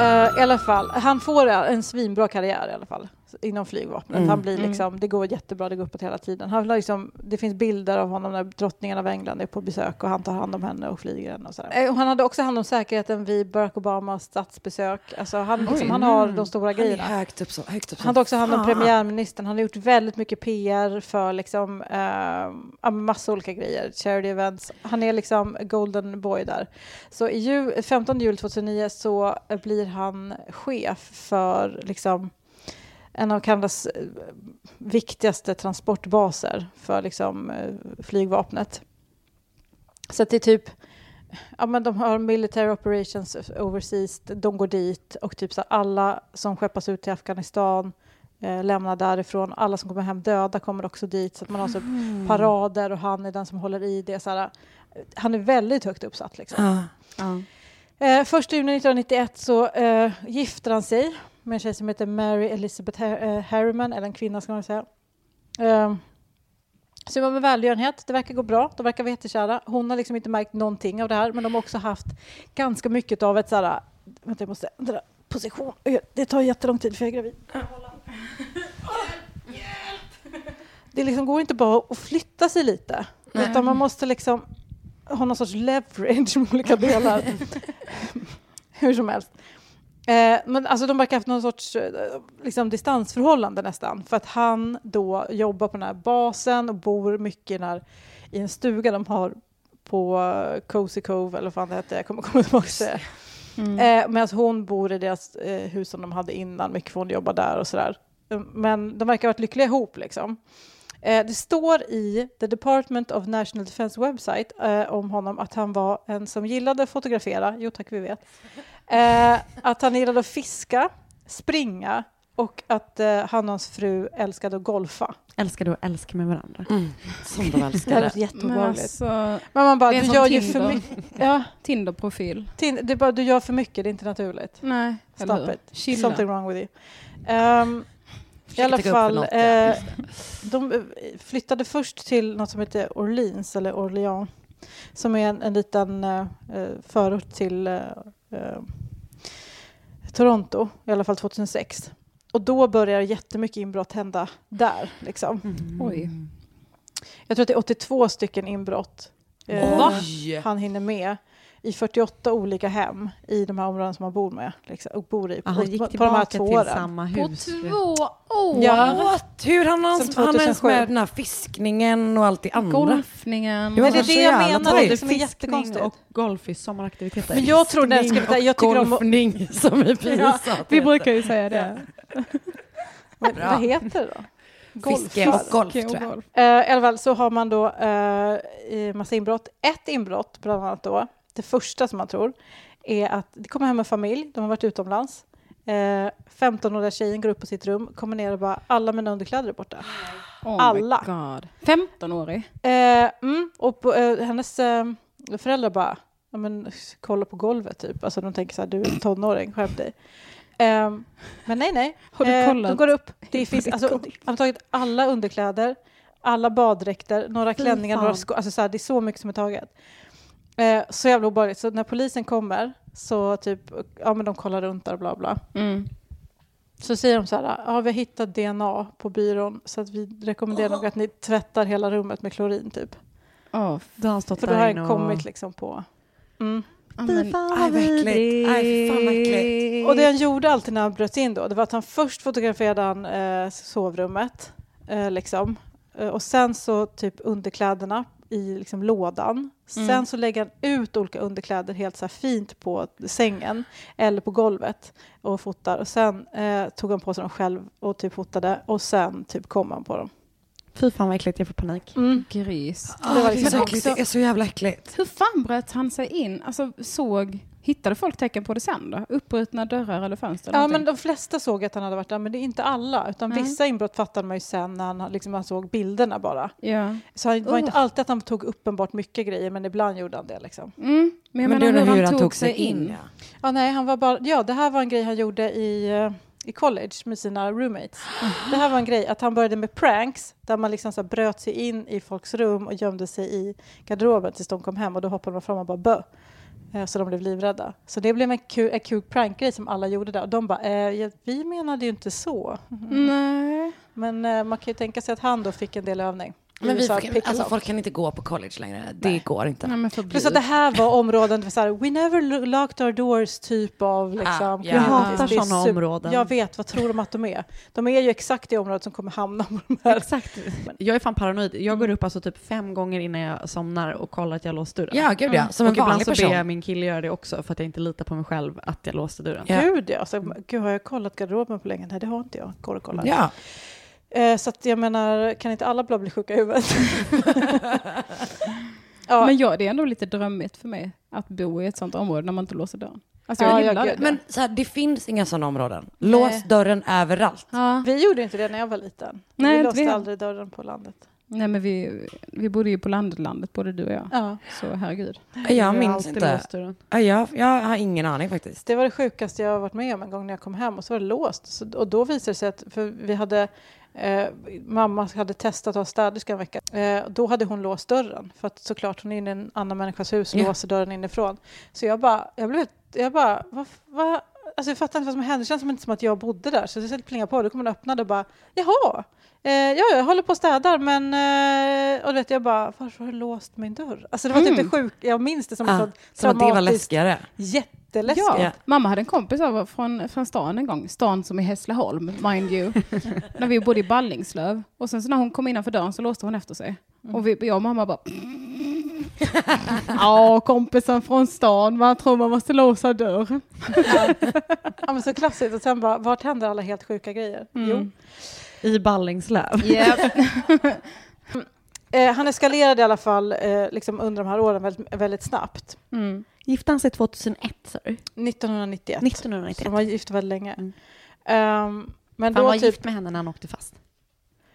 E: eh, I alla fall, han får en svinbra karriär i alla fall inom flygvapnet. Han blir liksom, det går jättebra, det går uppåt hela tiden. Han har liksom, det finns bilder av honom när drottningen av England är på besök och han tar hand om henne och flyger henne. Och sådär. Eh, och han hade också hand om säkerheten vid Barack Obamas statsbesök. Alltså han, liksom, han har de stora
G: Mm. Han är
E: grejerna.
G: högt upp så, högt upp
E: Han
G: så.
E: tar också hand om premiärministern. Han har gjort väldigt mycket PR för liksom, eh, ja, massa olika grejer, charity events. Han är liksom golden boy där. Så i ju, 15 juli 2009 så eh, blir han chef för liksom, en av Kanadas eh, viktigaste transportbaser för liksom, eh, flygvapnet. Så att det är typ Ja, men de har military operations overseas, de går dit och typ så här, alla som skeppas ut till Afghanistan eh, lämnar därifrån. Alla som kommer hem döda kommer också dit så att man har typ parader och han är den som håller i det. Så här, eh, han är väldigt högt uppsatt. Liksom.
G: Ja.
E: Eh, först i juni 1991 så eh, gifter han sig med en tjej som heter Mary Elizabeth Har- eh, Harriman, eller en kvinna ska man säga. Eh, Summa med välgörenhet, det verkar gå bra, de verkar vara jättekära. Hon har liksom inte märkt någonting av det här, men de har också haft ganska mycket av ett så här, vänta jag måste ändra position, Oj, det tar jättelång tid för jag är gravid. Det liksom går inte bara att flytta sig lite, utan man måste liksom ha någon sorts leverage med olika delar. Hur som helst. Eh, men alltså de verkar ha haft någon sorts eh, liksom, distansförhållande nästan. För att han då jobbar på den här basen och bor mycket i den här, i en stuga de har på eh, Cozy Cove eller vad fan det hette, jag kommer komma tillbaka till det. Eh, Medan hon bor i deras eh, hus som de hade innan, mycket för hon jobbar där och sådär. Eh, Men de verkar ha varit lyckliga ihop liksom. Eh, det står i The Department of National Defense website eh, om honom att han var en som gillade att fotografera, jo tack vi vet, Eh, att han gillade att fiska, springa och att eh, han och hans fru älskade att golfa.
F: Älskar du och älskar med varandra.
G: Som de
E: Det här
G: älskade.
E: låter
D: Men
E: jätteobehagligt.
D: alltså,
E: Men man bara,
D: det är
E: du
D: som
E: gör ju
D: Tinder.
E: för mycket. Ja,
D: Tinder-profil.
E: tin- det är bara, du gör för mycket, det är inte naturligt.
D: Nej, eller
E: Stop
D: hur?
E: it.
D: Chilla.
E: Something wrong with you. Ehm, I alla
G: täcka upp för
E: fall,
G: något, ja.
E: eh, de eh, flyttade först till något som heter Orleans, eller Orléans, som är en, en liten eh, eh, förort till eh, eh, Toronto, i alla fall 2006. Och då börjar jättemycket inbrott hända där. Liksom.
F: Mm.
D: Oj.
E: Jag tror att det är 82 stycken inbrott eh,
G: Oj!
E: han hinner med. i 48 olika hem i de här områdena som han bor, med, liksom, och bor i.
F: Ah,
E: på,
F: han gick
E: på, på de
F: tillbaka
E: här
F: till
E: två åren.
F: samma
D: På
F: hus.
D: två år?
E: Ja.
G: What? Hur han ens,
E: Sen
G: han ens
E: 2007.
G: med den här fiskningen och allt det andra?
D: Golfningen.
G: Det var
E: Men det är
G: så
E: det jag
G: jävla
E: menar,
G: tajt.
E: det som är jättekonstigt.
F: och golf i sommaraktiviteter.
E: Men jag tror- nej, ska vi- jag tycker om att-
G: golfning som är pinsamt.
E: Ja,
D: Vi brukar ju säga det.
E: Vad,
G: Bra.
E: vad heter det då?
G: Fiske och golf tror jag.
D: golf.
E: Eh, I alla fall så har man då eh, i massa inbrott. Ett inbrott, bland annat då, det första som man tror, är att det kommer hem en familj, de har varit utomlands. Eh, 15-åriga tjejen går upp på sitt rum, kommer ner och bara, alla mina underkläder är borta.
D: Oh
E: Alla.
D: My God. 15-årig.
E: Eh, mm, och på, eh, hennes eh, föräldrar bara, ja, men, kolla på golvet typ. Alltså de tänker så här, du är en tonåring, skärp dig. Eh, men nej, nej.
D: Har du
E: de
D: kollat?
E: Eh, går upp. Det finns,
D: ditt
E: alltså,
D: golv?
E: de har tagit alla underkläder, alla baddräkter, några
F: Fy
E: klänningar, några
F: fan.
E: skor. Alltså, så här, det är så mycket som är taget. Eh, så jävla obehagligt. Så när polisen kommer så typ, ja men de kollar runt där bla bla.
D: Mm.
E: Så säger de så här, ja vi har hittat DNA på byrån så att vi rekommenderar nog att ni tvättar hela rummet med klorin typ.
D: Oh,
F: Då har han stått
E: För då
F: där
E: har
F: inne
E: jag kommit liksom på... Mm.
D: men,
G: Aj vad äckligt. Aj fan vad äckligt.
E: Och det han gjorde alltid när han bröt in då, det var att han först fotograferade han eh, sovrummet, eh, liksom. Eh, och sen så typ underkläderna i liksom lådan. Sen så lägger han ut olika underkläder helt så här fint på sängen eller på golvet och fotar. Och sen eh, tog han på sig dem själv och typ fotade och sen typ kom han på dem.
F: Fy fan vad äckligt, jag får panik.
E: Mm.
D: gris.
G: Ah, det, är
E: liksom-
G: så äckligt. det är så jävla äckligt.
D: Hur fan bröt han sig in? Alltså såg... Hittade folk tecken på det sen då? Uppbrutna dörrar eller fönster? eller
E: Ja, men
D: någonting?
E: de flesta såg att han hade varit där, men det är inte alla. Utan
D: Nej.
E: vissa inbrott fattade man ju sen när han, liksom, han såg bilderna bara.
D: ja.
E: Så han- det var
D: Uh.
E: inte alltid att han tog uppenbart mycket grejer, men ibland gjorde han det. Liksom.
D: Mm. Men jag
G: Men det
D: menar
G: undrar hur han tog sig in. ja.
E: Ja, nej, han var bara, ja, det här var en grej han gjorde i, eh, i college med sina roommates. Det här var en grej, att han började med pranks där man liksom så här, bröt sig in i folks rum och gömde sig i garderoben tills de kom hem och då hoppade man fram och bara bö. Eh, Så de blev livrädda. Så det blev en kul, en kul prankgrej som alla gjorde där. Och de bara, eh, ja, vi menade ju inte så.
G: Mm.
D: Nej.
E: Men eh, man kan ju tänka sig att han då fick en del övning.
G: Men vi,
E: USA,
G: kan-
E: pick us
G: alltså,
E: up.
G: folk kan inte gå på college längre. Det går inte.
D: Nej, men
E: Plus att det här var områden, det var så här, we never lo- locked our doors typ av liksom.
G: Ah,
E: communities.
G: jag
F: hatar
E: Det är
F: såna
E: sup-
F: områden.
E: Jag vet, vad tror de att de är? De är ju exakt det området som kommer hamna på de här.
F: Exakt. Jag är fan paranoid. Jag går upp alltså typ fem gånger innan jag somnar och kollar att jag låst dörren.
G: Ja, gud
E: Mm.
G: ja. Som
F: och
G: en
F: ibland
G: vanlig
F: så
G: person.
F: ber jag min kille göra det också för att jag inte litar på mig själv att jag låste dörren.
G: Ja.
E: Gud ja, alltså, gud har jag kollat garderoben på länge? Nej det har inte jag. Går och kollar.
G: Ja.
E: Eh, så att jag menar, kan inte alla bara bli sjuka i huvudet? ja,
D: Men ja, det är ändå lite drömmigt för mig att bo i ett sånt område när man inte låser dörren. Alltså jag
E: Ja, jag
D: gillar
E: gör
D: det.
E: det.
G: Men så här, det finns inga sådana områden. Lås
E: Nej.
G: dörren överallt.
D: Ja.
E: vi gjorde inte det när jag var liten.
D: Nej,
E: vi
D: inte vi.
E: låste aldrig dörren på landet.
D: Nej, men vi, vi bodde ju på landlandet, både du och jag.
E: Ja.
D: Så herregud.
G: Jag
F: har
G: minns
F: alltid
G: inte.
F: låst dörren.
G: Ja, Jag, jag har ingen aning faktiskt.
E: Det var det sjukaste jag har varit med om en gång när jag kom hem och så var det låst. Så, och då visade det sig att, för vi hade, eh, mamma hade testat att ha städerska en vecka. Eh, då hade hon låst dörren för att såklart hon är inne i en annan människas hus och
G: Ja.
E: låser dörren inifrån. Så jag bara, jag blev, jag bara, vad, vad Alltså jag fattar inte vad som hände, det känns som inte som att jag bodde där. Så jag plinga på, då kommer den öppnade och bara ”Jaha, eh, ja, jag håller på och städar men...” eh, Och du vet, jag bara ”Varför har du låst min dörr?” Alltså det var typ
D: Mm.
E: det sjuka, jag minns det som
G: Ah,
E: ett sånt
G: Som att det var
E: traumatiskt-
G: läskigare.
E: Jätteläskigt.
D: Ja,
G: Ja.
D: mamma hade en kompis över från, från stan en gång, stan som är Hässleholm, mind you, när vi bodde i Ballingslöv. Och sen så när hon kom innanför dörren så låste hon efter sig.
G: Mm.
D: Och vi, jag och mamma bara... Ja, kompisen från stan, man tror man måste låsa dörr.
E: Ja, men så klassiskt. Och sen bara, vart händer alla helt sjuka grejer?
F: Mm.
E: Jo.
F: I Ballingslöv.
E: Eh, han eskalerade i alla fall eh, liksom under de här åren väldigt, väldigt snabbt.
D: Mm.
F: Gifte han sig 2001 sa du?
E: 1991.
F: 1991.
E: Så de var gifta väldigt länge.
F: Mm.
E: Ehm, men
F: Han
E: då
F: var
E: typ,
F: gift med henne när han åkte fast.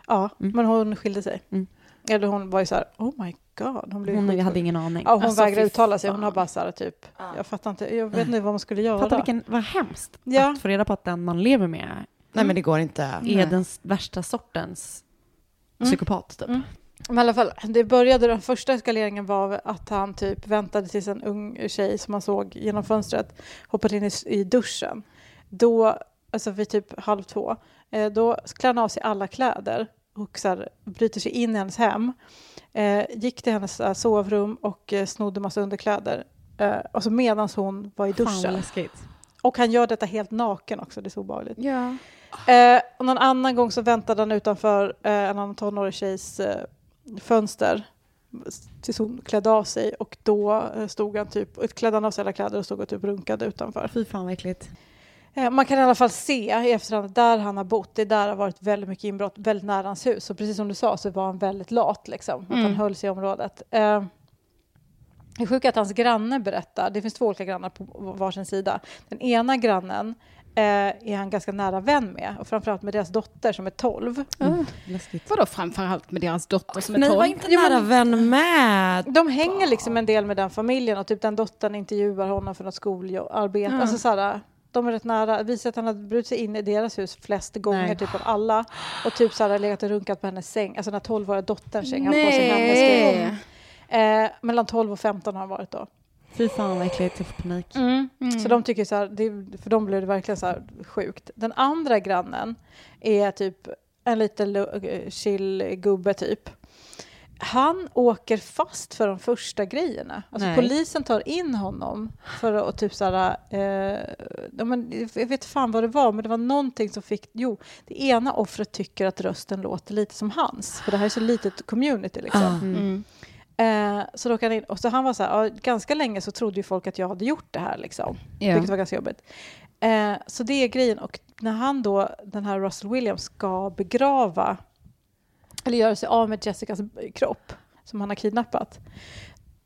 E: Ja,
F: Mm.
E: men hon skilde sig.
F: Mm.
E: Eller hon var ju så här, oh my god. Hon blev ju
F: Hon
E: skitsjuk.
F: hade ingen aning.
E: Ja, hon
F: Alltså,
E: vägrade
F: fy
E: uttala sig. Hon
F: fan.
E: har bara så här typ, jag fattar inte, jag vet inte vad man skulle göra.
F: Fatta vilken, vad hemskt
E: Ja.
F: att få reda på att den man lever med
G: Nej men det går inte.
F: är den s- värsta sortens psykopat typ.
E: Men i alla fall, det började, den första eskaleringen var att han typ väntade tills en ung tjej som han såg genom fönstret hoppade in i, i duschen. Då, alltså vid typ halv två, eh, då klär han av sig alla kläder och så här, bryter sig in i hennes hem. Eh, gick till hennes eh, sovrum och eh, snodde massa underkläder. Eh, alltså medan hon var i
F: Fan, vad
E: duschen.
F: läskigt.
E: och han gör detta helt naken också, det är så obehagligt.
D: Ja.
E: Eh, och någon annan gång så väntade han utanför eh, en annan tonårig tjejs eh, fönster s- tills hon klädde av sig och då eh, stod han typ, klädde han av sig alla kläder och stod och typ runkade utanför.
F: Fy fan vad äckligt.
E: Eh, Man kan i alla fall se i efterhand där han har bott, det är där det har varit väldigt mycket inbrott, väldigt nära hans hus. Och precis som du sa så var han väldigt lat, liksom, att han
D: Mm.
E: höll sig i området. Eh, Det är sjukt att hans granne berättar, det finns två olika grannar på varsin sida. Den ena grannen eh, är han ganska nära vän med, och framförallt med deras dotter som är 12.
D: Vadå framförallt med deras dotter som är
G: Ni
D: tolv?
G: var inte nära vän med.
E: De hänger liksom en del med den familjen och typ den dottern intervjuar honom för något skolarbete.
D: Mm.
E: Alltså så här, de är rätt nära. Det visar sig att han har brutit sig in i deras hus flest gånger
F: Nej.
E: typ av alla. Och typ så här, legat och runkat på hennes säng. Alltså den här 12-åriga dotterns säng. Han har på sig hennes
D: Nej.
E: grej. Eh, mellan 12 och 15 har han varit då.
F: Fy fan vad äckligt, jag får panik.
E: Så de tycker så här, det, för dem blev det verkligen så här sjukt. Den andra grannen är typ en liten lu- eh, chill gubbe typ. Han åker fast för de första grejerna. Alltså
F: Nej.
E: polisen tar in honom för att typ så här, eh, ja, men, jag vet fan vad det var, men det var någonting som fick, jo, det ena offret tycker att rösten låter lite som hans, för det här är så litet community liksom.
G: Ah.
D: Mm.
E: Eh, så då kan in, och så han var så här, ja, ganska länge så trodde ju folk att jag hade gjort det här liksom.
D: Ja.
E: Vilket var ganska jobbigt. Eh, så det är grejen. Och när han då, den här Russell Williams, ska begrava eller göra sig av med Jessicas kropp som han har kidnappat.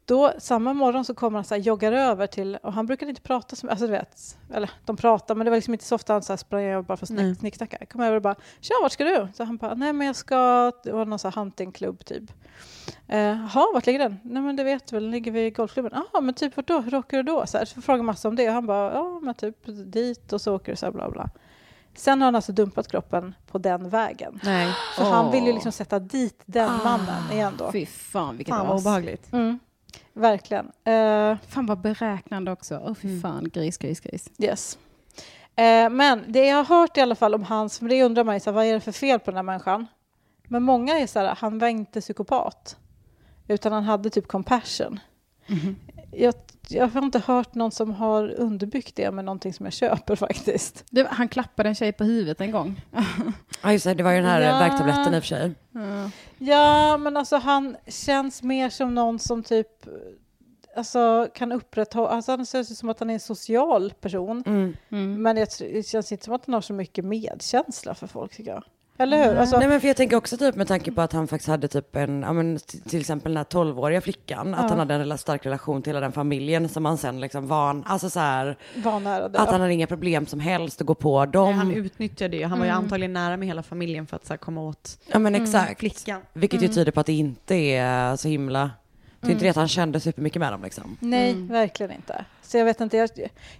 E: Då samma morgon så kommer han så här, joggar över till, och han brukade inte prata så mycket, alltså du vet, eller de pratar men det var liksom inte så ofta han så här sprang över bara för att
F: Nej.
E: snack- snicksnacka. Kom över och bara “tja, vart ska du?” Så han bara “nej men jag ska...” Det var någon så här huntingklubb typ. Eh, “Jaha, vart ligger den?” “Nej men det vet du väl, den ligger vid golfklubben.” “Jaha, men typ vart då? Hur åker du då?” Så, här, så frågar massa om det och han bara “ja men typ dit och så åker du” så här bla bla. Sen har han alltså dumpat kroppen på den vägen.
F: Nej.
E: Så han vill ju liksom sätta dit den mannen igen då.
D: Fy fan vilket
F: Fan vad
D: as.
F: obehagligt.
E: Mm. Verkligen. Eh,
D: Fan vad beräknande också. Åh fy
G: Mm.
D: fan, gris, gris, gris.
E: yes. Eh, men det jag har hört i alla fall om hans, för det undrar man ju, så här, vad är det för fel på den här människan? Men många är så här, han var inte psykopat. Utan han hade typ compassion. Jag, jag har inte hört någon som har underbyggt det med någonting som jag köper faktiskt.
D: Det, han klappade en tjej på huvudet en gång.
G: Ja just det, det var ju den här
E: Ja.
G: värktabletten i och för sig.
E: Ja, men alltså han känns mer som någon som typ alltså, kan upprätthålla... Alltså, han känns ju som att han är en social person.
G: Mm.
E: Men jag, tr- det känns inte som att han har så mycket medkänsla för folk, tycker jag. Eller hur? Alltså,
G: Nej men för jag tänker också typ med tanke på att han faktiskt hade typ en, ja men t- till exempel den här 12-åriga flickan,
E: Ja.
G: att han hade en rela- stark relation till hela den familjen som han sen liksom van, alltså så här,
E: var nära det.
G: att han hade inga problem som helst att gå på dem.
F: Han utnyttjade ju, han var ju
D: Mm.
F: antagligen nära med hela familjen för att så här, komma åt
G: Ja men exakt.
F: flickan.
G: Vilket ju tyder på att det inte är så himla, det är inte det att han kände supermycket med dem liksom.
E: Nej, verkligen inte. Så jag vet inte, jag,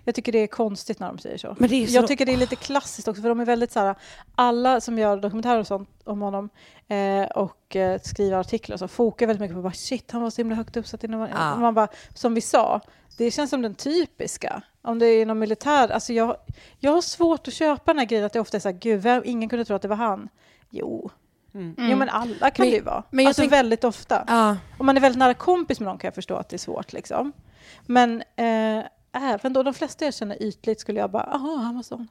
E: jag tycker det är konstigt när de säger så.
G: Men det är ju så-
E: Jag tycker det är lite klassiskt också, för de är väldigt så här, alla som gör dokumentärer och sånt om honom eh, och eh, skriver artiklar och så fokar väldigt mycket på bara shit, han var så himla högt uppsatt innan man,
G: Ja.
E: man bara, som vi sa, det känns som den typiska. Om det är någon militär, alltså jag, jag har svårt att köpa den här grejen att det ofta är så här, gud, vem, ingen kunde tro att det var han. Jo, jo men alla kan
G: Men-
E: det ju vara.
G: men jag
E: alltså
G: tänk-
E: väldigt ofta.
G: Ja.
E: Om man är väldigt nära kompis med någon kan jag förstå att det är svårt. Liksom. Men eh, även då, de flesta jag känner ytligt skulle jag bara, aha, Amazon.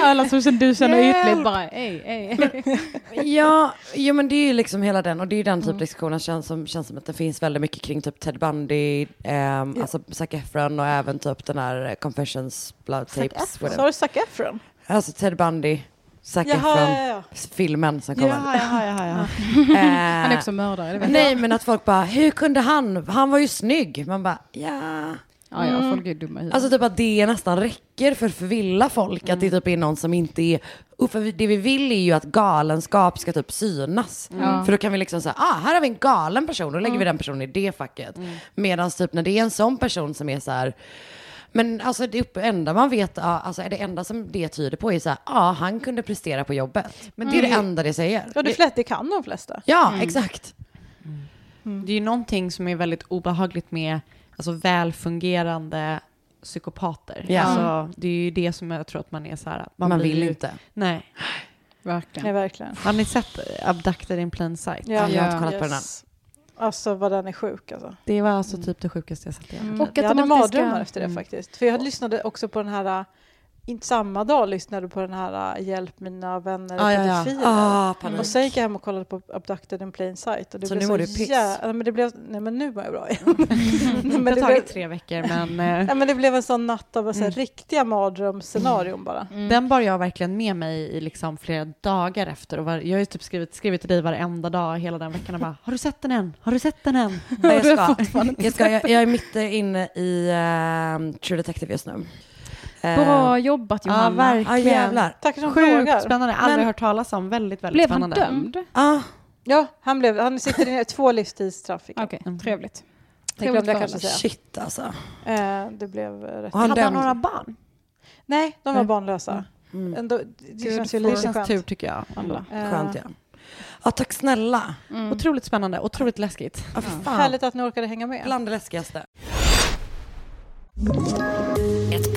D: Alla som känner- du känner ytligt bara, ej, ej.
G: Ja, ja men det är ju liksom hela den, och det är ju den typ diskussionen känns som, känns som att det finns väldigt mycket kring typ Ted Bundy, ehm, alltså Zac Efron och även typ den här eh, Confessions, Blood Tapes,
E: Så har
G: whatever.
E: du Zac Efron?
G: Alltså Ted Bundy, Zac
E: Jaha, ja,
G: Efron,
E: ja.
G: filmen som kommer.
F: Jaha, jaha, jaha, jaha.
G: Eh,
D: Han är också mördare, det vet jag.
G: Nej men att folk bara, hur kunde han? Han var ju snygg. Man bara, ja.
D: Ja, ja, folk är dumma i huvudet.
G: Alltså typ att det nästan räcker för att förvilla folk. Att det typ är någon som inte är... Och för vi- det vi vill är ju att galenskap ska typ synas. För då kan vi liksom säga, ah här har vi en galen person. Då lägger vi den personen i det facket. Medan typ när det är en sån person som är så här... Men alltså det upp- enda man vet, ja, alltså det enda som det tyder på är så här, ja ah, han kunde prestera på jobbet. Men det är Mm. det enda det säger.
E: Ja, det, flest, det kan de flesta. Mm.
G: Ja, exakt.
F: Det är ju någonting som är väldigt obehagligt med alltså, välfungerande psykopater.
G: Ja.
F: Alltså, det är ju det som jag tror att man är så här...
G: Man,
F: blir
G: vill
F: ju-
G: inte.
F: Nej.
D: Verkligen.
E: Nej, verkligen.
F: Har ni sett Abducted in plain sight?
G: Jag har inte kollat på den än. Mm.
E: yes. Alltså vad den är sjuk alltså.
F: Det var alltså typ det sjukaste jag sett i
E: Mm. jag hade mardrömmar efter det faktiskt. För jag lyssnade också på den här, äh, inte samma dag lyssnade på den här äh, Hjälp mina vänner
G: Ah,
E: ah,
G: ja, ja.
E: pedofiler.
G: Ah, panik.
E: och sen gick jag hem och kollade på Abducted in plain sight. Och det
G: Så
E: blev
G: nu mår du piss?
E: jä- Nej men, det blev, nej men nu mår jag bra igen. Nej,
F: Det har
E: blev-
F: tagit tre veckor, men, eh.
E: nej, men det blev en sån natt av så här,
F: Mm.
E: riktiga mardrömsscenarion bara.
F: Den bar jag verkligen med mig i liksom flera dagar efter. Och var, jag har ju typ skrivit, skrivit till dig varenda dag hela den veckan och bara “Har du sett den än? Har du sett den än?”
G: Nej, jag ska. Jag, ska jag, jag är mitt inne i eh, True Detective just nu. Eh,
D: Bra jobbat Johanna.
G: Ja,
F: Ah,
G: verkligen. Ja, jävlar.
F: Sjukt spännande, aldrig hört talas om. Väldigt, väldigt
D: Blev han
F: spännande. Mm.
D: dömd?
G: Ah.
E: Ja, han, blev, han sitter i två livstidsstraff. Okej,
D: trevligt.
E: Det glömde jag kanske säga.
G: Shit alltså.
E: Eh, det blev eh, rätt.
G: Och han Hade han dömde-
F: några barn?
E: Nej, de var
F: Nej.
E: barnlösa.
G: Mm.
E: Ändå, det känns ju
F: Det
E: lite
F: känns
E: skönt.
F: tur tycker jag. Ändå.
E: Eh,
G: Skönt ja. Ja, tack snälla.
F: Otroligt spännande, otroligt läskigt.
G: Ja, för fan.
E: Härligt att ni orkade hänga med.
G: Bland det läskigaste.
I: Ett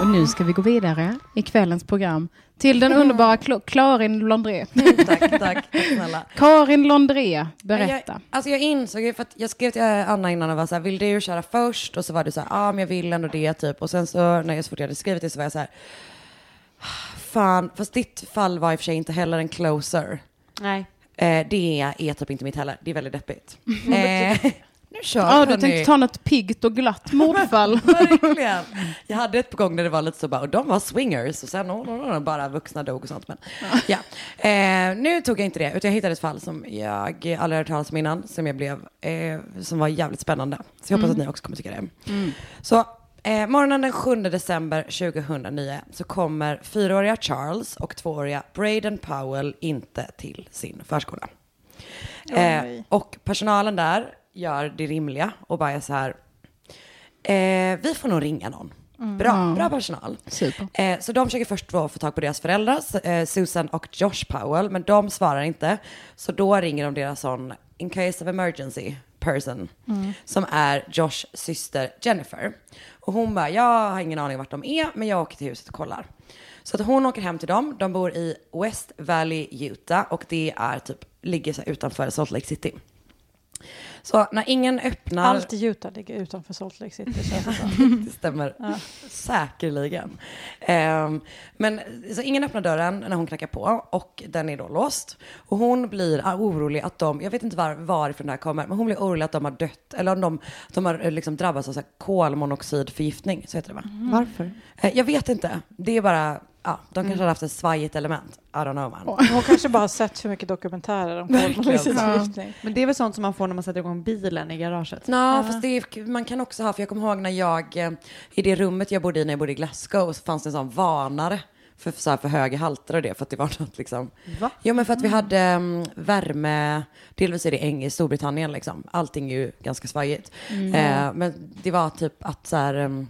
D: Och nu ska vi gå vidare i kvällens program till den underbara Klo- Karin Londré.
G: Tack, tack, tack snälla.
D: Karin Londré, berätta.
G: Jag, alltså jag insåg ju, för att jag skrev till eh, Anna innan och var så här, vill du köra först? Och så var du så här, ja ah, men jag vill ändå det typ. Och sen så när jag så fort jag hade skrivit det så var jag så här, "Ah, fan, fast ditt fall var i och för sig inte heller en closer.
F: Nej.
G: Eh, det är typ inte mitt heller, det är väldigt deppigt.
D: men-
G: Eh, nu kör
D: Ja, du
G: hörni.
D: tänkte ta något piggt och glatt mordfall.
G: Verkligen. Jag hade ett på gång där det var lite så bara, och de var swingers och sen oh, oh, oh, bara vuxna dog och sånt. Men, ja. eh, nu tog jag inte det, utan jag hittade ett fall som jag aldrig hört talas om innan, som jag blev, eh, som var jävligt spännande. Så jag hoppas
F: Mm.
G: att ni också kommer tycka det. Så eh, morgonen den 7 december 2009 så kommer fyraåriga Charles och tvååriga Braden Powell inte till sin förskola. Eh,
F: Oj.
G: och personalen där gör det rimliga och bara är så här, eh, vi får nog ringa någon.
F: Mm.
G: Bra,
F: Ja.
G: bra personal. Eh, så de försöker först då få tag på deras föräldrar, eh, Susan och Josh Powell, men de svarar inte. Så då ringer de deras sån, in case of emergency person,
F: Mm.
G: som är Joshs syster Jennifer. Och hon bara, jag har ingen aning vart de är, men jag åker till huset och kollar. Så att hon åker hem till dem, de bor i West Valley, Utah, och det är typ, ligger så här utanför Salt Lake City. Så när ingen öppnar...
E: Allt i Utah ligger utanför Salt Lake City. känns det som.
G: det stämmer
E: Ja.
G: säkerligen. Ehm, men så ingen öppnar dörren när hon knackar på och den är då låst. Och hon blir ah, orolig att de, jag vet inte var, varifrån det här kommer, men hon blir orolig att de har dött eller om de, de har eh, liksom drabbats av så här kolmonoxidförgiftning, så heter det va?
F: Varför?
G: Eh, jag vet inte, det är bara, ja, de kanske har haft ett svajigt element. I don't know man.
E: Hon kanske bara har sett för mycket dokumentärer om kolmonoxidförgiftning.
F: Men det är väl sånt som man får när man sätter igång bilen i garaget?
G: Ja, fast det är, man kan också ha, för jag kommer ihåg när jag, eh, i det rummet jag bodde i när jag bodde i Glasgow, så fanns det en sån varnare för, så här, för höga halter och det, för att det var något liksom.
F: Va?
G: Jo, men för att vi hade mm, värme, delvis är det Eng i Storbritannien liksom, allting är ju ganska svajigt.
F: Mm.
G: Eh, men det var typ att så här, mm,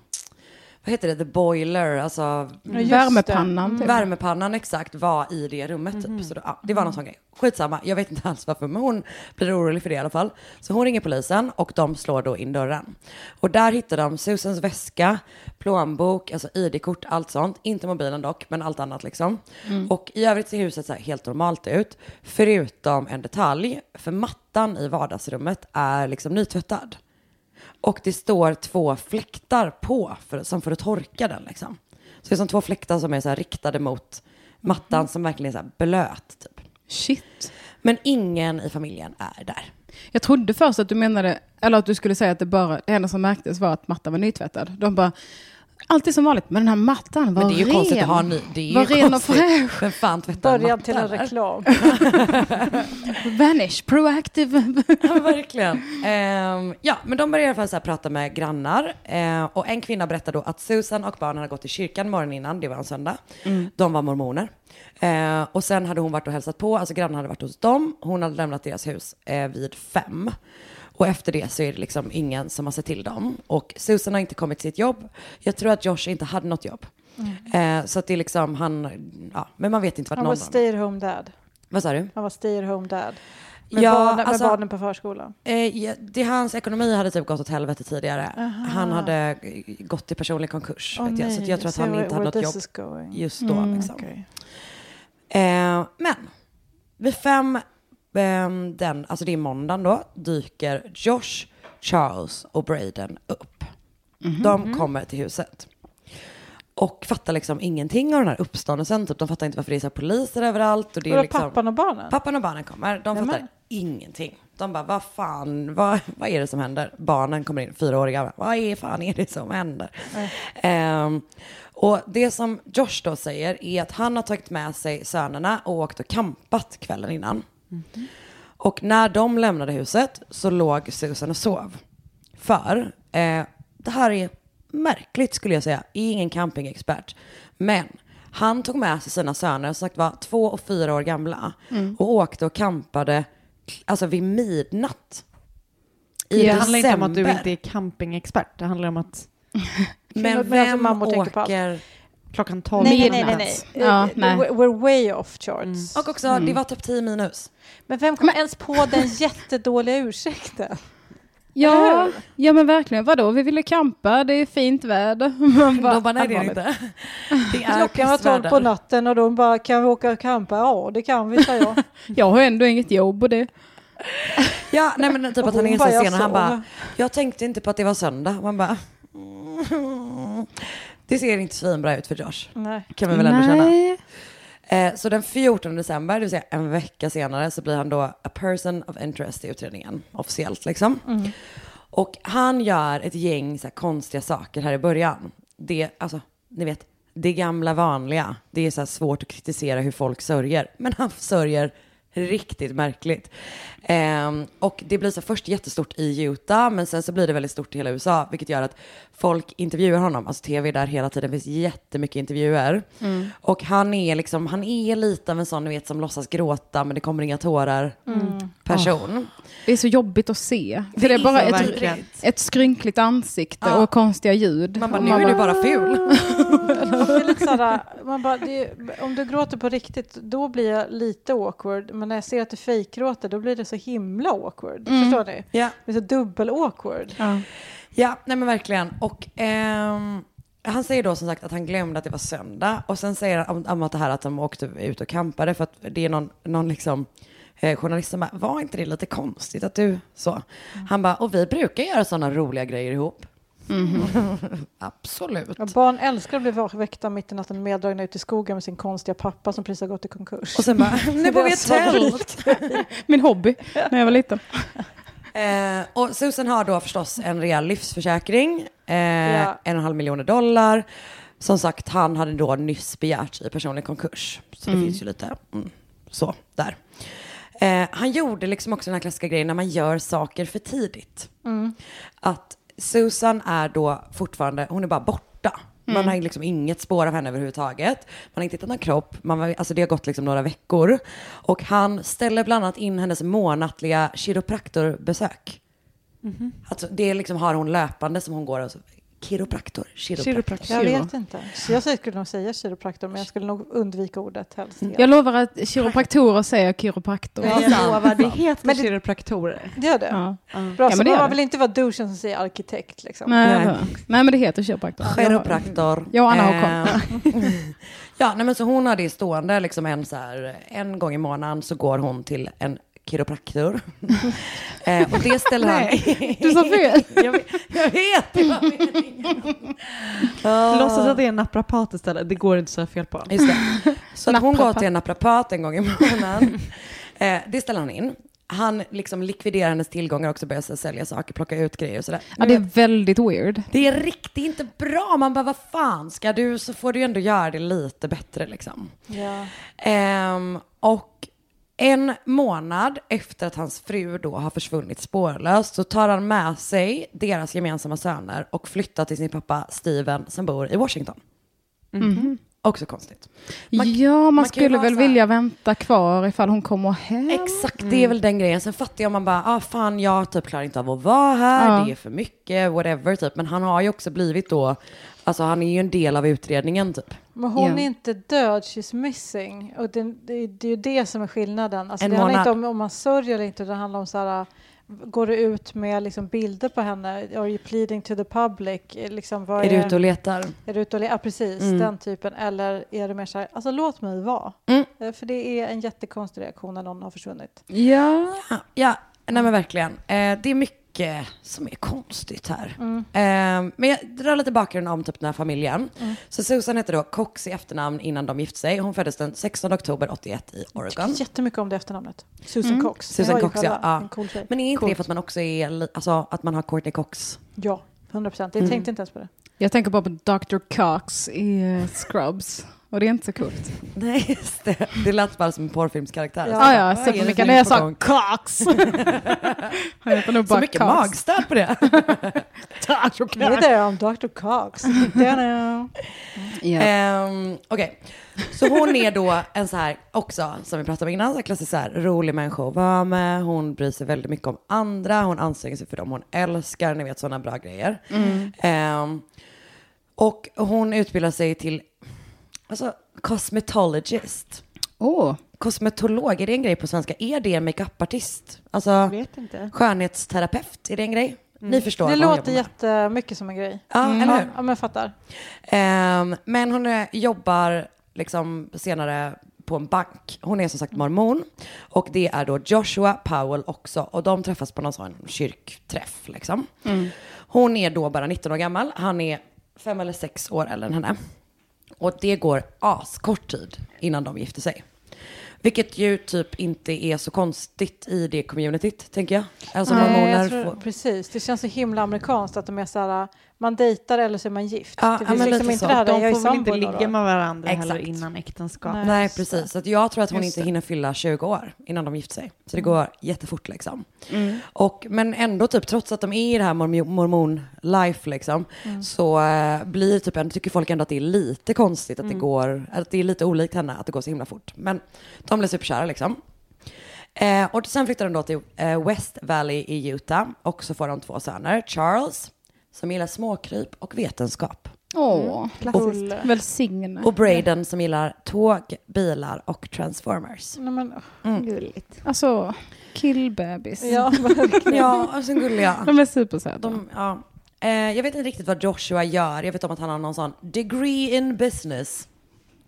G: vad heter det, the boiler, alltså
D: just det. Värmepannan,
G: Mm.
D: typ.
G: Värmepannan exakt var i det rummet typ. Så då, ja, det var någon sån grej. Skitsamma, jag vet inte alls varför, men hon blir orolig för det i alla fall. Så hon ringer polisen och de slår då in dörren. Och där hittar de Susans väska, plånbok, alltså ID-kort, allt sånt. Inte mobilen dock, men allt annat liksom.
F: Mm.
G: Och i övrigt ser huset så här helt normalt ut, förutom en detalj. För mattan i vardagsrummet är liksom nytvättad. Och det står två fläktar på, för, som för att torka den liksom. Så det är som två fläktar som är så här riktade mot mattan
D: Mhm.
G: som verkligen är så här blöt typ.
D: Shit.
G: Men ingen i familjen är där.
D: Jag trodde först att du menade, eller att du skulle säga att det bara, det enda som märktes var att mattan var nytvättad. De bara, Alltid som vanligt, men den här mattan var
G: Men det är ju
D: ren.
G: konstigt att ha en ny. Det är ju
D: var ren och
G: konstigt.
D: fräsch.
G: Vem fan tvättar en Början till matta, en eller?
E: reklam.
D: Vanish, proactive.
G: Ja, verkligen. Ehm, ja, men de började i alla fall så här prata med grannar. Ehm, och en kvinna berättade då att Susan och barnen hade gått till kyrkan morgonen innan, det var en söndag.
F: Mm.
G: De var mormoner. Ehm, och sen hade hon varit och hälsat på, alltså grannarna hade varit hos dem. Hon hade lämnat deras hus eh, vid fem. Och efter det så är det liksom ingen som har sett till dem. Och Susan har inte kommit till sitt jobb. Jag tror att Josh inte hade något jobb. Ehm, så att det är liksom han, ja, men man vet inte vart
E: Han
G: någon
E: var
G: av dem.
E: stay at home dad.
G: Vad sa du?
E: Han var stay at home dad. Med,
G: Ja,
E: barnen, med
G: alltså-
E: barnen på förskolan.
G: Eh, ja, det, hans ekonomi hade typ gått åt helvete tidigare.
E: Aha.
G: Han hade eh, gått i personlig konkurs.
E: Åh
G: vet jag. Så
E: nej,
G: att jag tror att
E: se
G: han
E: where-
G: inte hade
E: where
G: något
E: this
G: jobb
E: is going.
G: just då.
E: Mm,
G: liksom.
E: okej.
G: eh, men vid fem, ehm, den, alltså det är måndagen då, dyker Josh, Charles och Braden upp. De
F: Mhm.
G: kommer till huset. Och fattar liksom ingenting av den här uppståndelsen. Typ, de fattar inte varför det är så här poliser överallt. Och det är
E: Vadå,
G: liksom,
E: pappan och barnen?
G: Pappan och barnen kommer. De
E: Nämen.
G: fattar ingenting. De bara, vad fan, vad, vad är det som händer? Barnen kommer in, fyraåriga, vad är fan är det som händer? Ehm, och det som Josh då säger är att han har tagit med sig sönerna och åkt och kampat kvällen innan. Och när de lämnade huset så låg Susan och sov. För eh, det här är märkligt skulle jag säga. Jag är ingen campingexpert. Men han tog med sig sina söner, som sagt var två och fyra år gamla.
F: Mm.
G: Och åkte och campade alltså vid midnatt. I
F: det handlar inte om att du
G: december.
F: inte är campingexpert. Det handlar om att...
G: Men Men alltså, vem mammor tänker på allt.
F: åker klockan tolv?
E: Nej, nej, nej. nej, nej.
F: Ja,
E: Eh,
F: nej.
E: We're, we're way off charts.
G: Och också, det var typ 10 minus.
E: Men vem kom ens på den jättedåliga ursäkten?
D: Ja, ja men verkligen. Vadå, vi ville campa, det är fint väder. Man
G: De bara, nej, det är det
D: allvarligt.
G: Det är
E: Klockan var tolv
D: pissväder.
E: på natten och de bara, kan vi åka och campa? Ja, det kan vi, sa jag.
D: Jag har ändå inget jobb och det...
G: Ja, nej men typ
D: Och
G: att han
D: hon
G: är så
D: bara, jag
G: sen och han
D: sov.
G: bara, jag tänkte inte på att det var söndag. Man bara, mm, det ser inte svinbra ut för Josh.
E: Nej.
G: Kan vi väl ändå
D: Nej.
G: känna. Eh, Så den 14 december, det vill säga en vecka senare, så blir han då a person of interest i utredningen, officiellt liksom.
F: Mm.
G: Och han gör ett gäng så här konstiga saker här i början. Det, alltså, ni vet, det gamla vanliga. Det är så här svårt att kritisera hur folk sörjer. Men han sörjer riktigt märkligt. Ehm, och det blir så här först jättestort i Utah, men sen så blir det väldigt stort i hela USA, vilket gör att folk intervjuar honom. Alltså tv är där hela tiden, det finns jättemycket intervjuer.
F: Mm.
G: Och han är liksom, han är lite av en sån, ni vet, som låtsas gråta, men det kommer inga tårar
D: Mm.
G: person.
D: Det är så jobbigt att se. För
G: Det
D: det,
G: är
D: är bara
G: så
D: ett,
G: verkligen.
D: ett skrynkligt ansikte
G: Ja.
D: och konstiga ljud.
G: Man bara,
D: Och
G: nu är du bara ful.
E: Det är lite såhär, man bara, det, är- om du gråter på riktigt, då blir jag lite awkward. Men när jag ser att du fejkgråter, då blir det så himla awkward.
G: Mm.
E: Förstår ni?
G: Ja.
E: Det är så dubbel-awkward.
D: Ja.
G: Ja, nej men verkligen. Och ehm, han säger då som sagt att han glömde att det var söndag. Och sen säger han om, om att det här att de åkte ut och campade för att det är någon, någon liksom eh, journalist som bara, var inte det lite konstigt att du så? Han bara, och vi brukar göra sådana roliga grejer ihop. Absolut.
E: Ja, barn älskar att bli vak- väckta mitt i natten meddragna ut i skogen med sin konstiga pappa som precis har gått i konkurs.
G: Och sen bara, nu bor vi i ett tält.
D: Min hobby när jag var liten.
G: Eh, och Susan har då förstås en rejäl livsförsäkring, eh,
E: Ja.
G: en och en halv miljon dollar. Som sagt, han hade då nyss begärts i personlig konkurs. Så det
F: Mm.
G: finns ju lite mm, så där. Eh, han gjorde liksom också den här klassiska grejen när man gör saker för tidigt.
F: Mm.
G: Att Susan är då fortfarande, hon är bara borta. Man
F: Mm.
G: har liksom inget spår av henne överhuvudtaget. Man har inte hittat någon kropp. Man var, alltså det har gått liksom några veckor. Och han ställer bland annat in hennes månatliga kiropraktorbesök. Alltså det är liksom har hon löpande som hon går och så, kiropraktor, kiropraktor.
E: Jag vet inte. Så jag skulle nog säga kiropraktor, men jag skulle nog undvika ordet helst. helt.
D: Jag lovar att kiropraktorer säger kiropraktor.
E: Ja, jag lovar, det heter Men det-
D: kiropraktorer.
E: Det gör det?
D: Ja.
E: Bra,
D: Ja,
E: så
D: men det
E: man
D: gör
E: var
D: det.
E: väl inte vara douchen som säger arkitekt liksom?
D: Nej, nej. nej, men det heter kiropraktor.
G: Kiropraktor.
D: Jag och Anna har koll.
G: Eh,
F: Ehm.
G: ja, nej, men så hon har det stående liksom en, så här, en gång i månaden så går hon till en kiropraktor. eh, och det ställer han...
F: Nej, du sa fel.
G: jag, vet- jag vet, det var meningen. Ah.
F: Låtsas att det är en naprapat istället. Det går inte att säga fel på.
G: Just Ehm, det. Så att hon går till en naprapat en gång i månaden. Eh, det ställer han in. han liksom likviderar hennes tillgångar också, börjar så sälja saker, plocka ut grejer och sådär.
D: Ja, det är väldigt weird.
G: Det är riktigt inte bra. Man bara, vad fan ska du, så får du ändå göra det lite bättre liksom.
E: Ja.
G: Ehm, och en månad efter att hans fru då har försvunnit spårlöst så tar han med sig deras gemensamma söner och flyttar till sin pappa Steven som bor i Washington.
D: Mhm.
G: Också konstigt.
D: ja, man,
G: man kan ju
D: skulle
G: vara
D: väl
G: så här-
D: vilja vänta kvar ifall hon kommer hem.
G: Exakt, det är väl den grejen. Sen fattar jag om man bara, ah fan jag typ klarar inte av att vara här,
D: Ja.
G: det är för mycket, whatever typ. Men han har ju också blivit då, alltså han är ju en del av utredningen typ.
E: Men hon
G: Ja.
E: är inte död, she's missing. Och det, det, det är ju det som är skillnaden. Alltså,
G: En
E: det handlar
G: månad.
E: inte om, om man sörjer eller inte, det handlar om så här, går det ut med liksom bilder på henne? Are you pleading to the public? Eh, Liksom, vad
G: Är du ute och letar?
E: Är du ute och letar? Ja, precis,
G: Mm.
E: den typen. Eller är det mer så här, alltså låt mig vara.
G: Mm.
E: Eh, För det är en jättekonstig reaktion när någon har försvunnit.
G: Ja. ja. nej men verkligen. Eh, det är mycket som är konstigt här.
E: Mm.
G: Eh, men jag drar lite bakgrund om typ den här familjen. Så Susan hette då Cox i efternamn innan de gifte sig. Hon föddes den 16 oktober 81 i
E: Jag
G: Oregon.
E: tycker jättemycket om det efternamnet. Susan
G: Mm.
E: Cox. Det
G: Susan
E: var ju
G: Cox,
E: själva
G: ja. ja.
E: En cool tjej.
G: Men är inte det
E: Coolt.
G: för att man också är, li- alltså att man har Courtney Cox?
E: Ja, 100 procent. Jag
G: Mm.
E: tänkte inte ens på det.
D: Jag tänker bara på Dr. Cox i eh, Scrubs. Och det är inte så coolt. Ah,
G: Nej, just det. Det lät bara som en porrfilmskaraktär.
D: Ja, ja, jag ser på Mikael när jag sa Cox. Han heter nog
G: Så
D: bara
G: mycket
D: Cox.
G: magstöd på det.
D: Dr. Cox.
E: Hey there, I'm Dr. Cox.
G: Mm.
E: Ta-da.
D: Eh,
G: Ehm, Okej, så hon är då en så här också, som vi pratade om innan, så här klassisk så här, rolig människa att vara med. Hon bryr sig väldigt mycket om andra, hon anstränger sig för dem hon älskar, ni vet sådana bra grejer.
F: Mm.
G: Ehm, och hon utbildar sig till alltså, cosmetologist.
D: Oh.
G: Kosmetolog, är det en grej på svenska? Är det en makeupartist? Alltså,
E: vet inte.
G: skönhetsterapeut, är det en grej? Ni förstår
E: Det
G: vad hon jobbar
E: låter
G: med.
E: jättemycket som en grej.
G: Ja,
E: Mm.
G: eller
E: Ja,
G: hur?
E: Ja, men jag fattar.
G: Ehm, men hon eh, jobbar liksom senare på en bank. Hon är som sagt mormon och det är då Joshua Powell också och de träffas på någon sån kyrkträff liksom.
F: Mm.
G: Hon är då bara 19 år gammal. Han är fem eller sex år äldre än henne. Och det går askort tid innan de gifter sig. Vilket ju typ inte är så konstigt i det communityt, tänker jag. Alltså
E: Nej,
G: mormoner
E: jag tror,
G: får...
E: Precis, det känns så himla amerikanskt att de är så här, man dejtar eller så är man gift.
G: Ja,
E: Liksom det
G: ja, men lite så.
E: här,
G: De
E: jag är
G: får väl
E: sambo
G: inte
E: då, då.
G: ligga med
F: varandra
G: Exakt.
F: heller innan äktenskap.
G: Nej, precis. Så att jag tror att hon inte hinner fylla 20 år innan de gifter sig. Så det
F: Mm.
G: går jättefort liksom.
F: Mm.
G: Och, men ändå typ trots att de är i det här mormo- mormon-life liksom,
F: Mm.
G: så eh, blir typ, ändå- tycker folk ändå att det är lite konstigt att
F: Mm.
G: det går, att det är lite olikt henne att det går så himla fort. Men de blir superkära liksom. Eh, och sen flyttar de då till eh, West Valley i Utah och så får de två söner, Charles, som gillar småkryp och vetenskap.
D: Åh,
G: Klassiskt.
D: Och- välsigne.
G: Och Braden som gillar tåg, bilar och transformers.
E: Nej, men,
D: Gulligt. Alltså, killbebis.
E: Ja, verkligen.
G: Ja, alltså gulliga.
D: De är supersöta.
G: De, ja. eh, jag vet inte riktigt vad Joshua gör. Jag vet om att han har någon sån degree in business.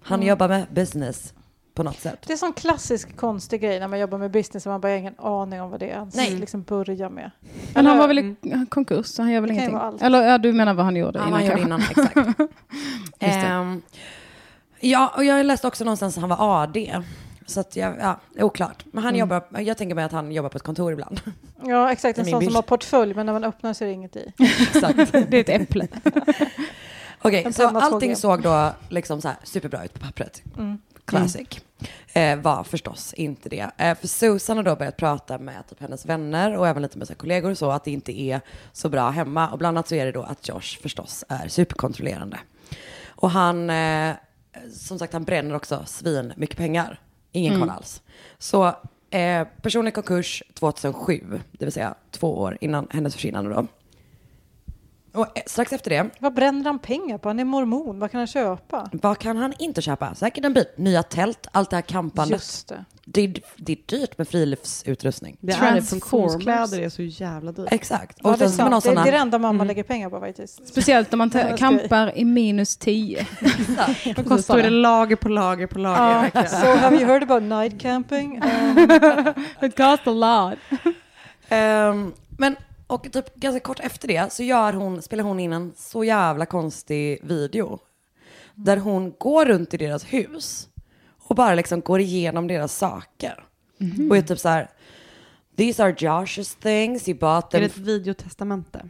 G: Han
E: Mm.
G: jobbar med business på något sätt.
E: Det är en sån klassisk konstig grej när man jobbar med business och man bara har ingen aning om vad det är. ens
G: Nej.
E: Liksom börja med. Mm.
D: Men han var väl i konkurs, så han gör väl
E: Det kan ju
D: ingenting?
E: vara allt.
D: Eller ja, du menar vad han gjorde
G: Ja, vad
D: innan
G: han gjorde
D: kanske?
G: innan, exakt.
D: Just det.
G: Ehm, ja, och jag läste också någonstans att han var AD. Så att jag, ja, det är oklart. Men han
E: Mm.
G: jobbar, jag tänker mig att han jobbar på ett kontor ibland.
E: Ja, exakt.
G: Det är
E: En
G: min
E: sån
G: bild.
E: som har portfölj, men när man öppnar så är det inget i.
G: Exakt.
D: det är ett äpple.
G: Okej,
E: En
G: så
E: penna såg
G: allting
E: jag.
G: såg då liksom så här superbra ut på pappret.
E: Mm.
G: Classic. Eh, var förstås inte det. Eh, för Susan har då börjat prata med typ hennes vänner och även lite med sina kollegor och så att det inte är så bra hemma. Och bland annat så är det då att Josh förstås är superkontrollerande. Och han, eh, som sagt han bränner också svin mycket pengar. Ingen
F: Mm.
G: koll alls. Så eh, personlig konkurs 2007, det vill säga två år innan hennes försvinnande då. Och eh, strax efter det
E: Vad bränner han pengar på? Han är mormon. Vad kan han köpa?
G: vad kan han inte köpa? Säkert en bit nya tält, allt det här campandet.
E: Just det.
G: Det är, det är dyrt med friluftsutrustning.
F: Det är det,
G: Transformers.
F: funktionskläder är så jävla dyrt.
G: Exakt.
E: Ja,
G: Och
E: det, är
G: sen så med någon
E: sant. det,
G: sån
E: det är
G: här,
E: det
G: Mm.
E: enda mamma lägger pengar på faktiskt.
D: Speciellt om man
E: Det var
D: te-
E: skoj.
D: kampar i minus 10. Vad
F: Så
D: kostar
F: står det
D: det?
F: lager på lager på lager.
E: Ja.
F: verkligen.
E: So have you heard about night camping? Um,
D: It costs a lot.
G: Ehm, men, och typ ganska kort efter det så gör hon, spelar hon in en så jävla konstig video.
E: Mm.
G: Där hon går runt i deras
E: Mhm.
G: hus och bara liksom går igenom deras saker. Och är typ så här, These are Josh's things, you bought
F: Är
G: them
F: det ett videotestamente?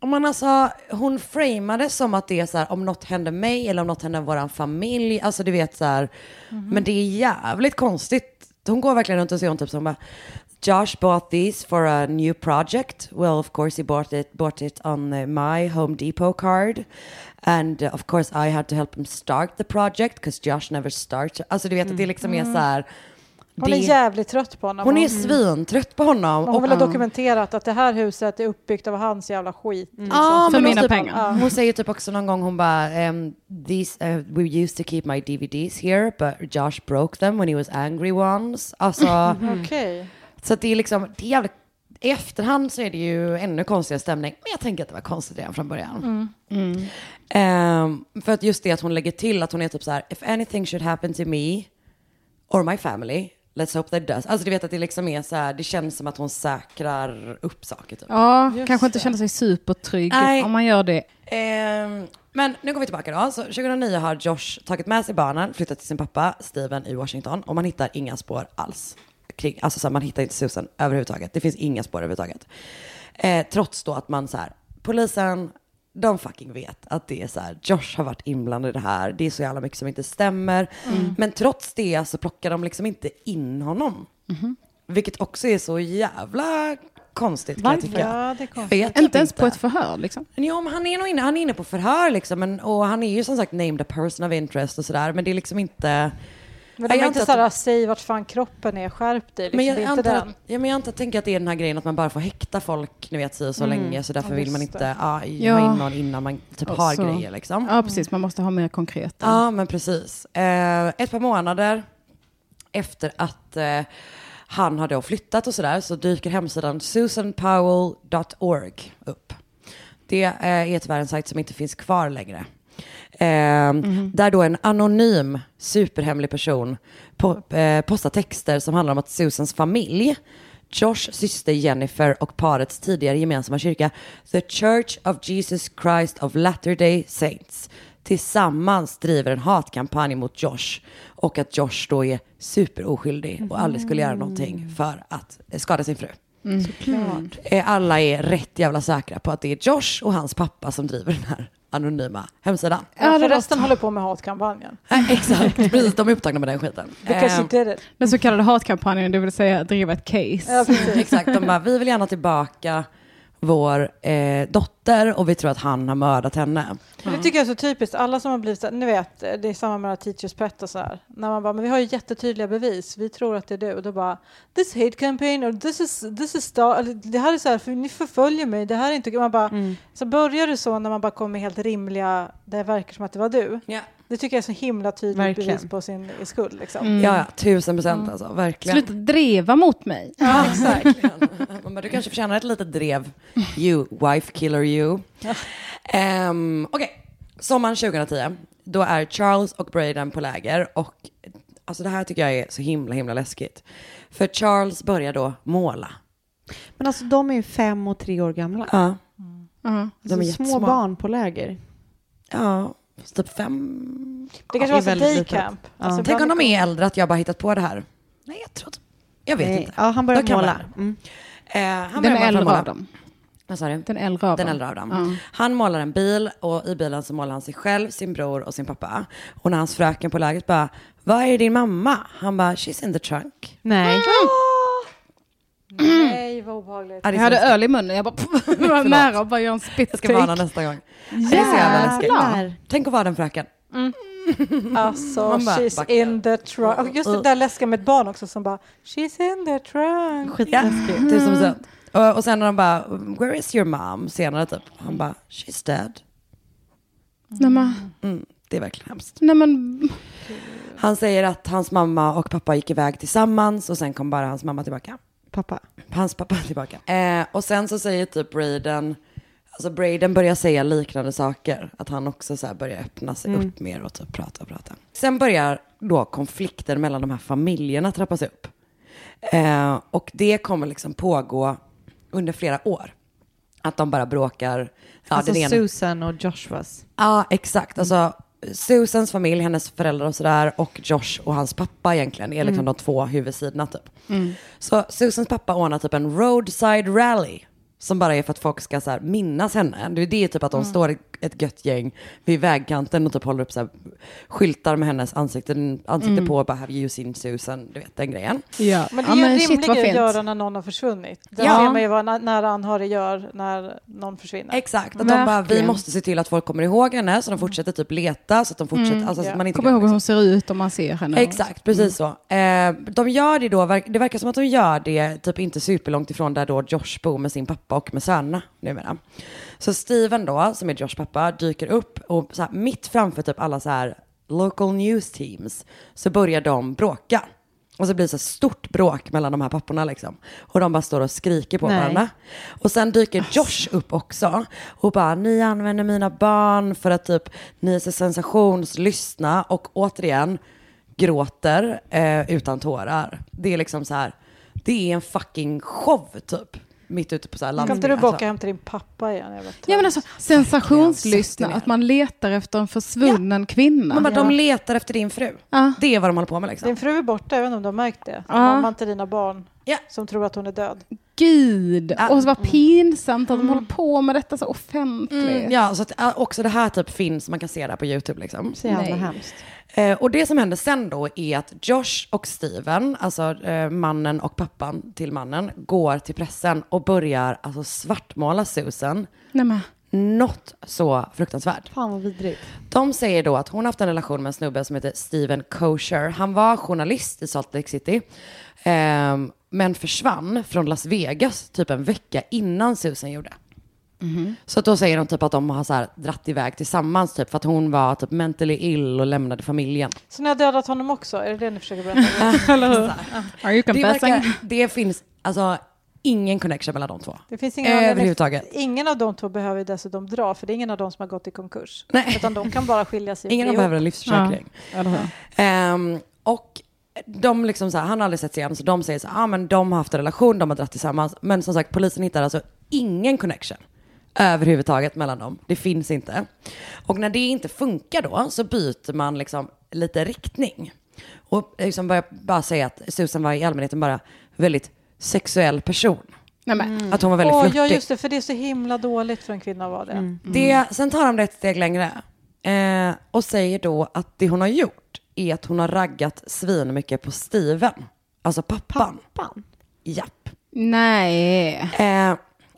G: Om man alltså, hon framade som att det är så här, om något händer mig eller om något händer våran familj. Alltså du vet så här,
E: Mhm.
G: men det är jävligt konstigt. Hon går verkligen runt och ser hon typ som bara, Josh bought these for a new project. Well of course he bought it, bought it on eh, my Home Depot card. And eh, of course I had to help him start the project because Josh never starts. Alltså du vet att det liksom är så här.
E: Mm. Hon
G: det,
E: är jävligt trött på honom.
G: hon är Mm.
E: Mm.
G: svintrött på honom.
E: Hon vill ha
G: Och-
E: dokumenterat att det här huset är uppbyggt av hans jävla skit. liksom.
G: Mm. Ja, men
E: För
G: hon
E: mina
G: typ,
E: pengar.
G: ja. Hon säger typ också någon gång, hon bara, ehm, these, eh, we used to keep my DVDs here but Josh broke them when he was angry once. Alltså,
E: Mhm. Okej.
G: så att det är liksom, det är jävligt, i efterhand så är det ju ännu konstigare stämning, men jag tänker att det var konstigt redan från början.
E: Mm.
G: Ehm, för att just det att hon lägger till att hon är typ så här, if anything should happen to me or my family, let's hope that it does. Alltså du vet att det liksom är så här, det känns som att hon säkrar upp saker typ.
D: Ja, kanske inte känner sig supertrygg
G: Nej.
D: om man gör det.
G: Ehm, men nu går vi tillbaka då. Så 2009 har Josh tagit med sig barnen, flyttat till sin pappa Steven i Washington och man hittar inga spår alls. Kring, alltså så här, man hittar inte Susan överhuvudtaget. Det finns inga spår överhuvudtaget. Eh, trots då att man så här, polisen, de fucking vet att det är så här, Josh har varit inblandad i det här. Det är så jävla mycket som inte stämmer.
F: Mm.
G: Men trots det så plockar de liksom inte in honom. Vilket också är så jävla konstigt kan jag tycka. Vet typ
D: Inte ens på ett förhör liksom.
G: Jo, men han är nog inne, han är inne på förhör liksom. Men, och han är ju som sagt named a person of interest och sådär. Men det är liksom inte...
E: Men
G: Jag
E: de är
G: antar
E: inte
G: att
E: såhär,
G: de-
E: säg vart fan kroppen är, skärp dig. Liksom.
G: Men jag,
E: det är inte
G: antar att,
E: den.
G: ja, men jag antar, tänker att det är den här grejen att man bara får häkta folk, ni vet, si och så
D: Mm.
G: länge. Så därför
D: Ja,
G: vill man
D: just
G: inte
D: det.
G: ja, ha
D: Ja.
G: in någon innan man typ
D: Och
G: har
E: Alltså.
D: så-
G: grejer liksom.
D: Ja, precis. Man måste ha mer konkret.
G: Ja, men precis. Eh, ett par månader efter att eh, han har då flyttat och sådär så dyker hemsidan susanpowell.org upp. Det eh, är tyvärr en sajt som inte finns kvar längre. Eh, Där då en anonym superhemlig person po- eh, postar texter som handlar om att Susans familj Josh syster Jennifer och parets tidigare gemensamma kyrka The Church of Jesus Christ of Latter-day Saints tillsammans driver en hatkampanj mot Josh och att Josh då är superoskyldig och aldrig skulle göra någonting för att eh, skada sin fru.
F: Såklart.
G: Eh, Alla är rätt jävla säkra på att det är Josh och hans pappa som driver den här anonyma hemsidan. Eh,
E: Ja, för resten håller på med hatkampanjen.
G: Exakt, precis. De är upptagna med den skiten.
E: Because
G: Ehm,
E: you did it.
D: Den så kallade hatkampanjen, det vill säga driva ett case.
E: Ja, precis.
G: Ehm, Exakt, de bara, vi vill gärna tillbaka vår eh, dotter och vi tror att han har mördat henne.
E: Men det tycker jag är så typiskt. Alla som har blivit, så här- ni vet, det är samma med det här teachers pet och så här. När man bara, men vi har ju jättetydliga bevis. Vi tror att det är du. Och då bara, this hate campaign or this is, this is star, eller, det här är så här, för ni förföljer mig. Det här är inte, man bara,
G: Mm.
E: så börjar det så när man bara kommer med helt rimliga, det verkar som att det var du.
G: Ja.
E: Det tycker jag är så himla tydligt
G: Verkligen. Mm.
E: bevis på sin skuld liksom.
G: Ja, ja, tusen procent alltså, verkligen.
D: Sluta driva mot mig.
G: Ja, exakt. Man bara, du kanske förtjänar ett litet drev. You, wife killer you. Ehm, Okej, sommaren 2010, då är Charles och Braden på läger och alltså det här tycker jag är så himla, himla läskigt. För Charles börjar då måla.
F: Men alltså de är ju fem och tre år gamla.
G: Ja,
F: Alltså,
G: Mm. De är
F: små
G: jättesmå.
F: barn på läger.
G: ja typ fem.
E: Det kanske
G: Ja,
E: var så
G: väldigt
E: day
G: litet.
E: camp.
G: Ja.
E: Alltså,
G: Tänk om
E: bland-
G: de är äldre, att jag bara hittat på det här. Nej, jag tror inte. Jag vet
F: Nej.
G: inte.
F: Ja, han börjar
G: De kan
F: måla. Mm.
G: vara- Eh, han
D: Den
G: börjar
D: äldre
G: måla.
D: av dem.
G: Vad sa du?
D: Den äldre av
G: Den
D: dem.
G: äldre av dem.
D: Ja.
G: Han målar en bil och i bilen så målar han sig själv, sin bror och sin pappa. Och när hans fröken på lägret bara, vad är din mamma? Han bara, she's in the trunk.
F: Nej.
E: Nej, vad obehagligt.
G: Ja, det
D: Jag
G: är så
D: hade
G: läskigt.
D: öl i munnen, jag bara var nära att bara göra en spit
G: Jag ska varna nästa gång. Det är så jävla läskigt. Tänk att vara den fröken.
E: Alltså,
G: Man bara
E: she's
G: backar.
E: in the trunk. Och Just det där läskiga med ett barn också som bara, she's in the trunk.
G: Skitläskigt. Tusen
D: Mm.
G: procent. Och, och sen när de bara, where is your mom? Senare typ. Han bara, she's dead.
D: Nej men,
G: Mm, det är verkligen hemskt.
D: nej men,
G: Han säger att hans mamma och pappa gick iväg tillsammans och sen kom bara hans mamma tillbaka.
F: Pappa.
G: Hans pappa tillbaka. Eh, och sen så säger typ Braden, alltså Braden börjar säga liknande saker. Att han också så här börjar öppna sig
F: Mm.
G: upp mer och typ prata och prata. Sen börjar då konflikten mellan de här familjerna trappas upp. Eh, och det kommer liksom pågå under flera år. Att de bara bråkar. Ja,
F: alltså
G: den ena-
F: Susan och Joshuas.
G: Ja, exakt. Alltså, Susans familj, hennes föräldrar och sådär och Josh och hans pappa egentligen är liksom
F: Mm.
G: de två huvudsidorna typ. Så Susans pappa ordnar typ en roadside rally. Som bara är för att folk ska så här minnas henne. Det är det typ att de
F: Mm.
G: står ett gött gäng vid vägkanten och typ håller upp så här skyltar med hennes ansikte, ansikte
E: Mm.
G: på. Bara have you seen Susan? Du vet den grejen.
D: Ja.
E: Men det är ju en rimlig grej att göra när någon har försvunnit. Där
G: Ja.
E: ser man ju vad na- nära anhörig gör när någon försvinner.
G: Exakt, Att de bara, vi måste se till att folk kommer ihåg henne så de fortsätter typ leta så att de fortsätter, alltså, så att man inte
D: Kommer ihåg hur hon ser ut om man ser henne.
G: Exakt, precis så. Eh, de gör det då, verk- det verkar som att de gör det typ inte superlångt ifrån där då Josh bor med sin pappa och med sönerna numera. Så Steven då, som är Joshs pappa, dyker upp och så här, mitt framför typ alla så här local news teams så börjar de bråka. Och så blir det så här stort bråk mellan de här papporna liksom. Och de bara står och skriker på
F: Nej.
G: varandra. Och sen dyker
E: Alltså.
G: Josh upp också och bara ni använder mina barn för att typ ni är så sensationslyssna och återigen gråter eh, utan tårar. Det är liksom så här, det är en fucking show typ. Mitt ute på så här alltså.
E: Kan
G: landet.
E: inte du baka hem till din pappa igen? Jag vet.
D: Ja men alltså sensationslyssna, att man letar efter en försvunnen kvinna.
G: Man bara, de letar efter din fru. Det är vad de håller på med liksom.
E: Din fru är borta, jag vet inte om du har märkt det.
D: Ja.
E: Mamman till dina barn
G: ja.
E: som tror att hon är död.
D: Gud, och så vad pinsamt att de håller på med detta så offentligt.
G: Mm, ja, så att äh, också det här typ finns, man kan se det här på YouTube liksom.
D: Så jävla Nej. hemskt.
G: Eh, och det som händer sen då är att Josh och Steven, alltså eh, mannen och pappan till mannen, går till pressen och börjar alltså svartmåla Susan.
D: Nej, men.
G: Något så fruktansvärt.
F: Fan vad vidrigt.
G: De säger då att hon haft en relation med en snubbe som heter Steven Kosher. Han var journalist i Salt Lake City. ehm, men försvann från Las Vegas typ en vecka innan Susan gjorde.
D: Mhm.
G: Så att då säger de typ att de har så här dratt iväg tillsammans typ för att hon var typ mentally ill och lämnade familjen.
E: Så ni har dödat honom också? Är det det ni försöker berätta?
D: Eller hur? Are you
G: Det,
D: confessing?
G: verkar, det finns alltså ingen connection mellan de två.
E: Det finns ingen anledning-
G: Överhuvudtaget.
E: Ingen av de två behöver dessutom dra, för det är ingen av dem som har gått i konkurs.
G: Nej.
E: Utan de kan bara skilja sig.
G: Ingen av dem behöver en livsförsäkring. Ehm, och de liksom så här, han har aldrig sett sig igen, så de säger så här, ah, men de har haft en relation, de har dratt tillsammans. Men som sagt, polisen hittar alltså ingen connection överhuvudtaget mellan dem. Det finns inte. Och när det inte funkar då så byter man liksom lite riktning. Och liksom börjar bara säga att Susan var i allmänhet en bara väldigt sexuell person.
D: Nej,
E: Mm.
G: Att hon var väldigt
E: Åh, Ja,
G: flörtig. Mm.
E: just det, för det är så himla dåligt för en kvinna att vara det.
G: Det, sen tar de det ett steg längre eh, och säger då att det hon har gjort är att hon har raggat svin mycket på Steven, alltså pappan. Pappan? Japp.
D: Nej.
G: Eh,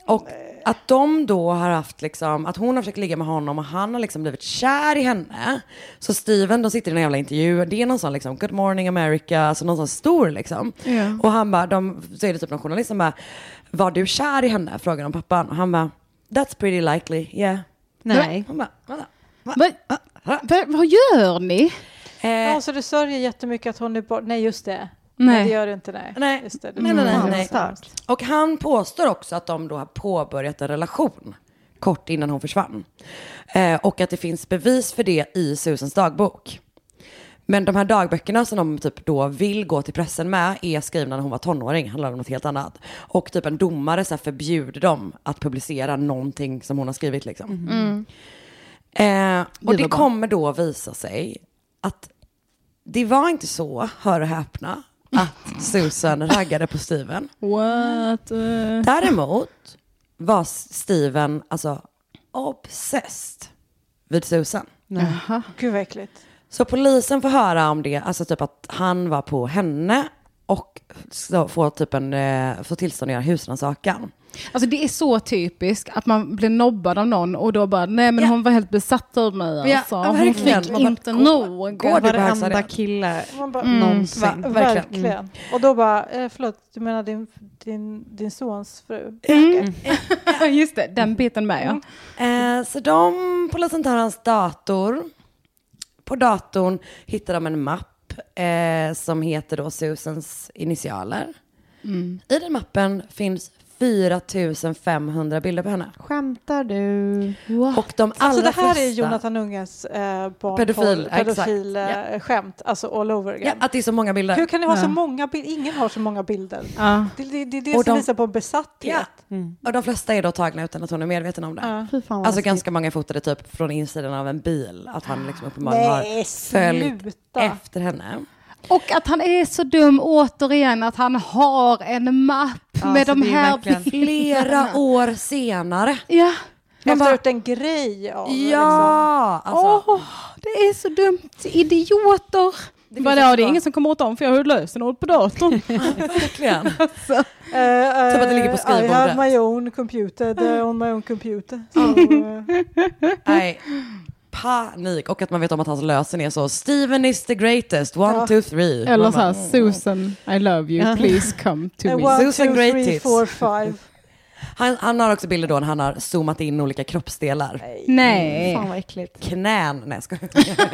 G: och att de då har haft liksom, att hon har försökt ligga med honom och han har liksom blivit kär i henne. Så Steven, de sitter i en jävla intervju, det är någon sån liksom, good morning America, alltså någon sån stor liksom.
D: Ja.
G: Och han bara, de, så är det typ någon journalist som bara, var du kär i henne? Frågar de pappan. Och han bara, that's pretty likely, yeah.
F: Nej.
G: Han bara, "Vadå?"
D: Vad- vad- vad gör ni?
G: Eh.
E: Ja, så du sörjer jättemycket att hon är bort. Nej, just det.
D: Nej.
E: Nej, det gör du Mm. inte. Nej,
G: Nej.
E: Just det,
G: Nej, nej, nej, nej.
E: Starkt.
G: Och han påstår också att de då har påbörjat en relation kort innan hon försvann. Eh, och att det finns bevis för det i Susans dagbok. Men de här dagböckerna som de typ då vill gå till pressen med är skrivna när hon var tonåring, handlar om något helt annat. Och typ en domare så här förbjuder dem att publicera någonting som hon har skrivit liksom.
F: Mm.
G: Eh, och
F: Gud,
G: det
F: vad bra.
G: kommer då visa sig att det var inte så, hör och häpna, att Susan raggade på Steven.
D: What?
G: Däremot var Steven alltså obsessed vid Susan.
E: Jaha. Gud vad äckligt.
G: Så polisen får höra om det, alltså typ att han var på henne och så får typ en, eh, får tillstånd att göra husrannsakan.
D: Alltså det är så typiskt att man blir nobbad av någon och då bara, nej men hon var helt besatt av mig
G: Ja,
D: alltså.
G: ja,
D: hon
G: verkligen.
D: fick
G: Man bara,
D: inte
G: gå-
D: nog.
G: går du på högstadiet?
F: kille
E: Man bara,
D: Mm.
F: någonsin.
E: Va, verkligen.
G: Mm.
E: Och då bara, eh, förlåt, du menar din, din, din sons fru?
D: Mm. Just det, den biten med ja.
G: Eh, så de, polisen tar hans dator. På datorn hittar de en mapp eh, som heter då Susans initialer. I den mappen finns 4 500 bilder på henne.
F: Skämtar du?
G: Och de allra
E: Alltså det här
G: flesta...
E: är Jonathan Unges eh, barn
G: Pedofil, ja, exakt.
E: pedofil eh, skämt, alltså all over
G: Ja,
E: again.
G: att det är så många bilder.
E: Hur kan det vara så många bilder? Ingen har så många bilder.
G: Ja.
E: Det, det, det är det
G: Och
E: som
G: de-
E: visar på en besatthet.
G: Och de flesta är då tagna utan att hon är medveten om det.
E: Mm. Ja.
F: Fy fan vad
G: alltså
F: läskigt.
G: ganska många fotade typ från insidan av en bil. Att han liksom uppenbarligen har
D: Nej,
G: följt
D: sluta.
G: efter henne.
D: Och att han är så dum återigen att han har en mapp med de här bilderna.
G: Flera år senare.
D: Ja.
G: Man
E: Efter
G: bara,
E: gjort en grej av
G: ja, alltså.
D: Åh, det är så dumt. Idioter. Det,
G: finns
D: Vadå, det är
G: också-
D: ingen som kommer åt dem för jag har lösenord på datorn.
G: Verkligen.
E: liksom.
G: Typ att det ligger på
E: I have
G: skrivbordet.
E: my own computer, the on my own computer. Så, eh,
G: Nej, panik. Och att man vet om att hans lösen är så Steven is the greatest, one,
E: Ja. Uh-huh.
G: two, three.
D: Eller
G: Man
D: så här,
G: bara, "Mm."
D: Susan, I love you,
G: Ja.
D: please come to me.
E: one,
G: Susan
E: two,
G: Great
E: three,
G: Tits.
E: four, five.
G: Han, han har också bilder då när han har zoomat in olika kroppsdelar.
D: Nej.
F: Fan vad äckligt.
G: Knän, nej jag skojar.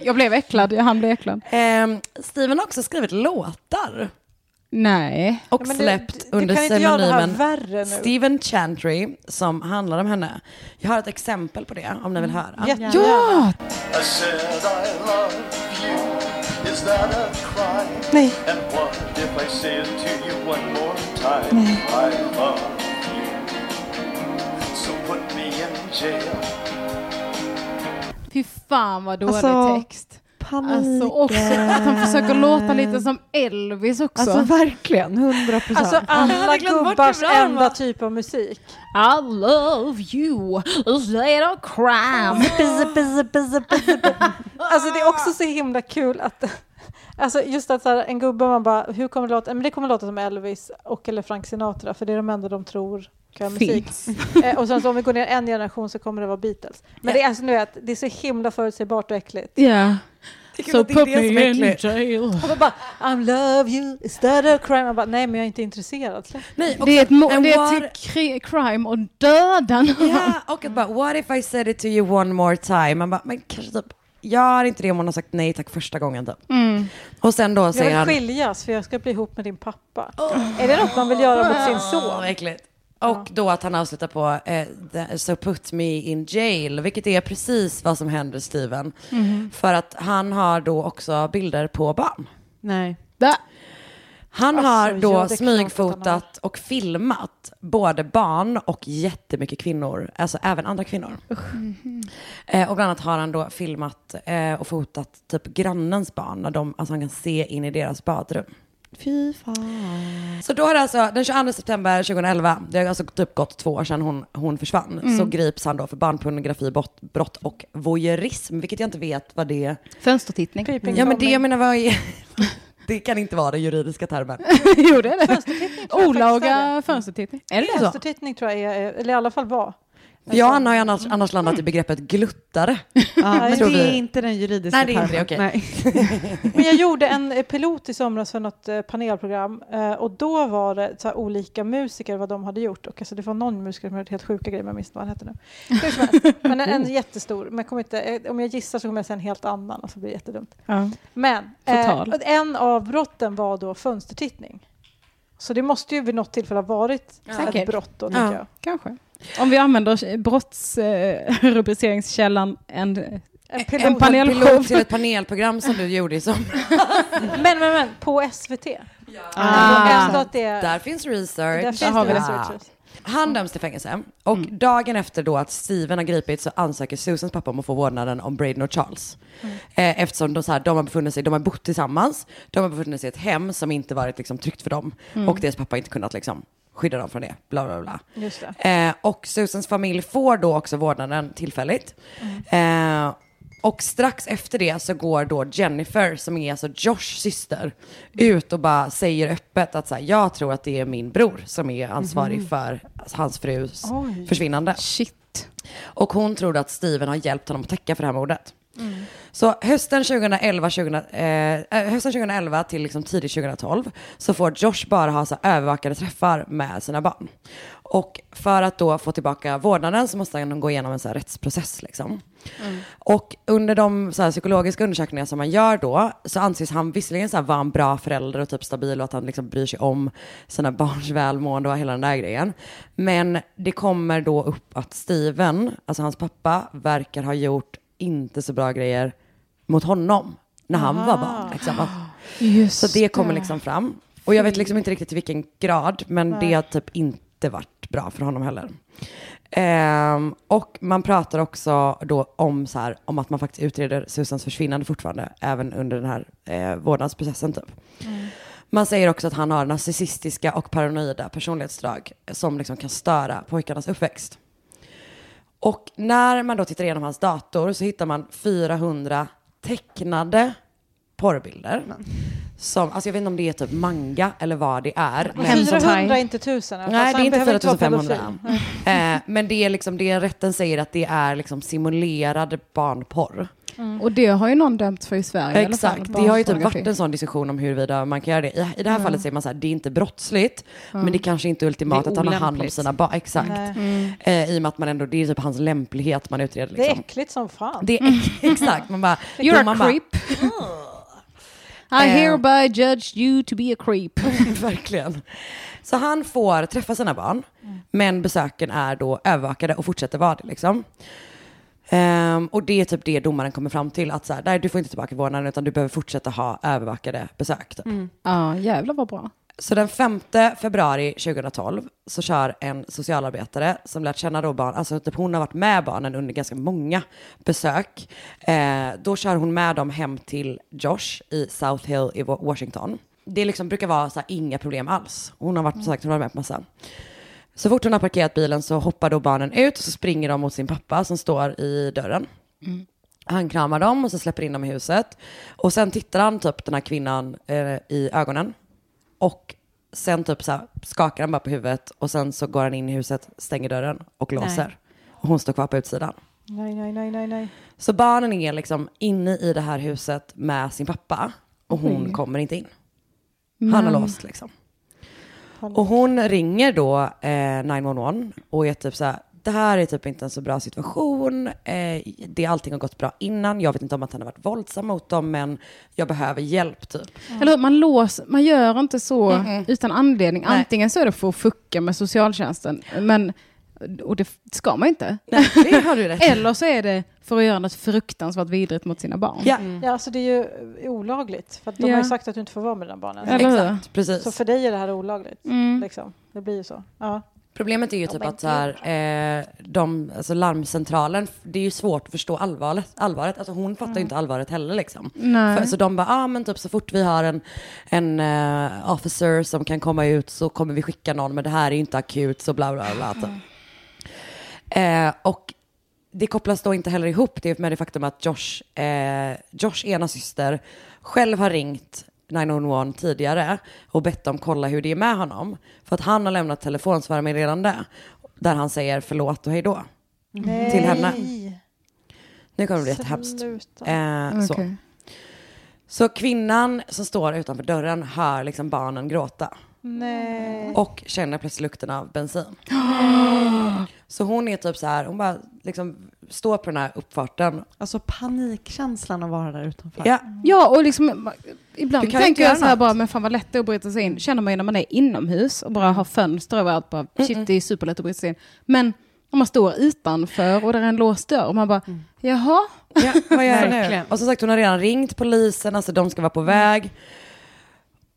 D: Jag blev äcklad, han blev äcklad.
G: Ehm, Steven har också skrivit låtar
D: Nej.
G: och
E: Ja, men det-
G: släppt
E: det- det
G: under
E: kan inte göra det här värre
G: pseudonymen
E: nu.
G: Steven Chantry som handlar om henne. Jag har ett exempel på det om ni
E: Mm.
G: vill höra.
E: Jättegärna.
D: Ja!
K: I said I love you. Is that a crime?
E: Nej.
K: And what if I say it to you one more time? I love you. So put me in jail.
D: Fy fan vad dålig
F: Alltså,
D: text.
F: Panik.
D: Alltså också att han försöker låta lite som Elvis också.
F: Alltså verkligen, 100 procent.
E: Alltså alla gubbars enda typ av musik.
D: I love you, is that a crime?
E: Alltså det är också så himla kul att Alltså just att så här, en gubbe man bara, hur kommer det låta? Men det kommer låta som Elvis och eller Frank Sinatra för det är de enda de tror kan musik.
D: Finns.
E: Eh, och sen så om vi går ner en generation så kommer det vara Beatles. Men det är alltså nu att det är så himla förutsägbart och äckligt.
D: Ja.
G: Tycker
D: So
G: att det är
D: put
G: det som är
D: me in
G: äckligt.
D: jail.
E: Och man bara, I love you, is that a crime? Man bara, nej men jag är inte intresserad. Släpp.
G: Nej,
D: Det är ett, mo-
G: and
D: det är
G: what-
D: ett kri- crime och döden.
G: Ja, och att bara what if I said it to you one more time? Man bara, men kanske typ, gör inte det om hon har sagt nej tack första gången typ.
E: Mm.
G: Och sen då
E: Jag
G: säger
E: vill
G: han,
E: skiljas för jag ska bli ihop med din pappa. Är det något man vill göra mot sin son?
G: Åh, äckligt. Och då att han avslutar på eh, the, So put me in jail, vilket är precis vad som händer Steven. För att han har då också bilder på barn.
F: Nej.
D: Där.
G: Han
E: Alltså,
G: har
E: ja, det
G: då
E: är klart att han har.
G: smygfotat och filmat både barn och jättemycket kvinnor, alltså även andra kvinnor. Eh, och bland annat har han då filmat eh, och fotat typ grannens barn, när de, alltså han kan se in i deras badrum.
F: Fy fan.
G: Så då har det alltså, den 22 september 2011, det har alltså typ gått två år sedan hon, hon försvann, så grips han då för barnpornografibrott brott och voyeurism, vilket jag inte vet vad det är.
D: Fönstertittning.
E: Creeping
G: Ja men det
E: Tommy.
G: jag menar, vad är... Det kan inte vara den juridiska termen.
D: jo det är det.
E: tror jag faktiskt är
D: Olaga fönstertittning. Är det så?
E: Fönstertittning tror jag är, eller i alla fall var.
G: Jag och Anna har ju annars, annars landat
D: Mm.
G: i begreppet gluttare.
F: Ja, men
G: Tror
F: det är
G: vi.
F: inte den juridiska
G: Nej, det är inte
F: termen.
G: det, okej.
F: Nej.
E: Men jag gjorde en eh, pilot i somras för något eh, panelprogram eh, och då var det så här olika musiker vad de hade gjort. Och alltså det var någon musiker som hade helt sjuka grejer, men jag minns inte vad han hette nu. Hur som helst. Men en, en jättestor, men jag kommer inte, eh, om jag gissar så kommer jag säga en helt annan och så blir det jättedumt.
D: Ja.
E: Men eh,
D: Förtal.
E: en av brotten var då fönstertittning. Så det måste ju vid något tillfälle ha varit ett
D: Säkert.
E: brott då,
G: Ja.
E: tycker jag.
D: Kanske. Om vi använder brottsrubriceringskällan en...
E: En
D: En
E: pilot.
D: panel-
G: Pilot till ett panelprogram som du gjorde i som
E: men, men, men, på SVT.
D: Ah.
E: Jag vågar påstå att det är...
G: Där finns research.
E: där finns
D: har vi Mm.
E: det
D: det.
E: researchers.
G: Han döms till fängelse och dagen efter då att Steven har gripits så ansöker Susans pappa om att få vårdnaden om Braden och Charles.
D: Mm.
G: Eh, eftersom de, så här, de har befunnit sig, de har bott tillsammans, de har befunnit sig i ett hem som inte varit liksom, tryggt för dem
D: Mm.
G: och deras pappa har inte kunnat liksom, skydda dem från det. Bla, bla, bla.
E: Just det.
G: Eh, och Susans familj får då också vårdnaden tillfälligt. Eh, och strax efter det så går då Jennifer, som är alltså Joshs syster, ut och bara säger öppet att så här, jag tror att det är min bror som är ansvarig
E: Mhm.
G: för hans frus försvinnande.
D: Shit.
G: Och hon tror då att Steven har hjälpt honom att täcka för det här mordet.
E: Mm.
G: Så hösten 2011, 2000, eh, hösten 2011 till liksom tidigt 2012 så får Josh bara ha så här övervakade träffar med sina barn. Och för att då få tillbaka vårdnaden så måste han gå igenom en så här rättsprocess. Liksom. Och under de så här psykologiska undersökningar som man gör då så anses han visserligen så här vara en bra förälder och typ stabil och att han liksom bryr sig om sina barns välmående och hela den där grejen. Men det kommer då upp att Steven, alltså hans pappa, verkar ha gjort inte så bra grejer mot honom när han var barn. Liksom. Att-
D: Ah. Just
G: så det kommer
D: det.
G: liksom fram. Och jag vet liksom inte riktigt till vilken grad, men
D: Nej.
G: det har typ inte varit bra för honom heller. Ehm, och man pratar också då om, så här, om att man faktiskt utreder Susans försvinnande fortfarande, även under den här eh, vårdnadsprocessen typ.
D: Mm.
G: Man säger också att han har narcissistiska och paranoida personlighetsdrag som liksom kan störa pojkarnas uppväxt. Och när man då tittar igenom hans dator så hittar man 400 tecknade porrbilder. Som, alltså jag vet inte om det är typ manga eller vad det är. men-
E: 400 inte 1000 i alla fall,
G: Nej, det är
E: så han
G: inte
E: behöver vara
G: 4500.
E: pedofil. Nej.
G: Eh, men det är liksom, det rätten säger att det är liksom simulerad barnporr.
D: Mm. Och det har ju någon dömts för i Sverige i alla fall.
G: Exakt, det har ju typ
D: barnpornografi.
G: varit en sån diskussion om huruvida man kan göra det. I, i det här
D: Mm.
G: fallet säger man så här, det är inte brottsligt,
D: Mm.
G: men det kanske inte är ultimat
D: Det är
G: att han har hand om
D: olämpligt. Mm.
G: sina barn. Exakt.
E: Nej.
G: Eh, I och med att man ändå, det är typ hans lämplighet man utreder.
E: Det är
G: Liksom.
E: äckligt som fan.
G: Det är äck- exakt, man bara...
D: Mm. You're
G: då
D: a
G: man
D: creep. I
G: Eh.
D: hereby judge you to be a creep.
G: Verkligen. Så han får träffa sina barn,
D: Mm.
G: men besöken är då övervakade och fortsätter vara det. Liksom. Ehm, och det är typ det domaren kommer fram till, att så här, nej, du får inte tillbaka vårdnaden utan du behöver fortsätta ha övervakade besök. Typ.
D: Mm. Ja, jävlar vad bra.
G: Så den 5 februari 2012 så kör en socialarbetare som lärt känna då barn, alltså typ hon har varit med barnen under ganska många besök. Eh, då kör hon med dem hem till Josh i South Hill i Wa- Washington. Det liksom brukar vara så här, inga problem alls. Hon har varit, som sagt, hon har varit med på massa. Så fort hon har parkerat bilen så hoppar då barnen ut och så springer de mot sin pappa som står i dörren.
E: Mm.
G: Han kramar dem och så släpper in dem i huset. Och sen tittar han typ den här kvinnan eh, i ögonen. Och sen typ så här, skakar han bara på huvudet och sen så går han in i huset, stänger dörren och låser.
E: Nej.
G: Och hon står kvar på utsidan.
E: Nej, nej, nej, nej, nej.
G: Så barnen är liksom inne i det här huset med sin pappa och hon
E: Oj.
G: kommer inte in. Han
E: Men-
G: har låst liksom. Och hon ringer då eh, 911 och är typ så här, det här är typ inte en så bra situation. Eh, det, allting har gått bra innan. Jag vet inte om att han har varit våldsam mot dem, men jag behöver hjälp typ.
D: Eller hur, man, lås, man gör inte så
G: Mm-mm.
D: utan anledning.
G: Nej.
D: Antingen så är det för att fucka med socialtjänsten, men, och det ska man inte.
G: Nej, det har du rätt i.
D: Eller så är det för att göra något fruktansvärt vidrigt mot sina barn.
G: Ja.
E: Ja, alltså det är ju olagligt. För att de
D: Ja.
E: har ju sagt att du inte får vara med dina barnen.
D: Eller hur? Exakt,
G: precis.
E: Så för dig är det här olagligt.
D: Mm.
E: Liksom. Det blir ju så. Ja.
G: Problemet är ju typ
E: men
G: att så här, eh, de, alltså larmcentralen, det är ju svårt att förstå allvaret. allvaret. Alltså hon fattar ju inte allvaret heller liksom.
D: Nej.
G: För, så de bara, ah, men typ så fort vi har en, en eh, officer som kan komma ut så kommer vi skicka någon, men det här är ju inte akut, så bla bla bla. Typ. Eh, och det kopplas då inte heller ihop det med det faktum att Josh, eh, Josh ena syster själv har ringt 911 tidigare och bett dem kolla hur det är med honom. För att han har lämnat telefonsvararmeddelande där han säger förlåt och hej då.
E: Nej.
G: Mm. Till henne. Nu kommer det bli jättehemskt.
E: Sluta.
G: Eh, så.
D: Mm. Okej.
G: så kvinnan som står utanför dörren hör liksom barnen gråta
E: Nej.
G: och känner plötsligt lukten av bensin. Så hon är typ så här, hon bara liksom står på den här uppfarten.
F: Alltså panikkänslan att vara där utanför.
G: Ja,
D: Ja, och liksom,
G: Du
D: ibland
G: kan ju inte
D: tänker
G: göra
D: jag så här
G: något.
D: bara, men fan vad lätt det är att bryta sig in. Känner man ju när man är inomhus och bara har fönster överallt, bara, shit det är superlätt att bryta sig in. Men om man står utanför och där är en låst dörr och man bara, jaha?
G: Ja, vad gör jag nu?
D: Verkligen.
G: Och som sagt, hon har redan ringt polisen, alltså de ska vara på väg.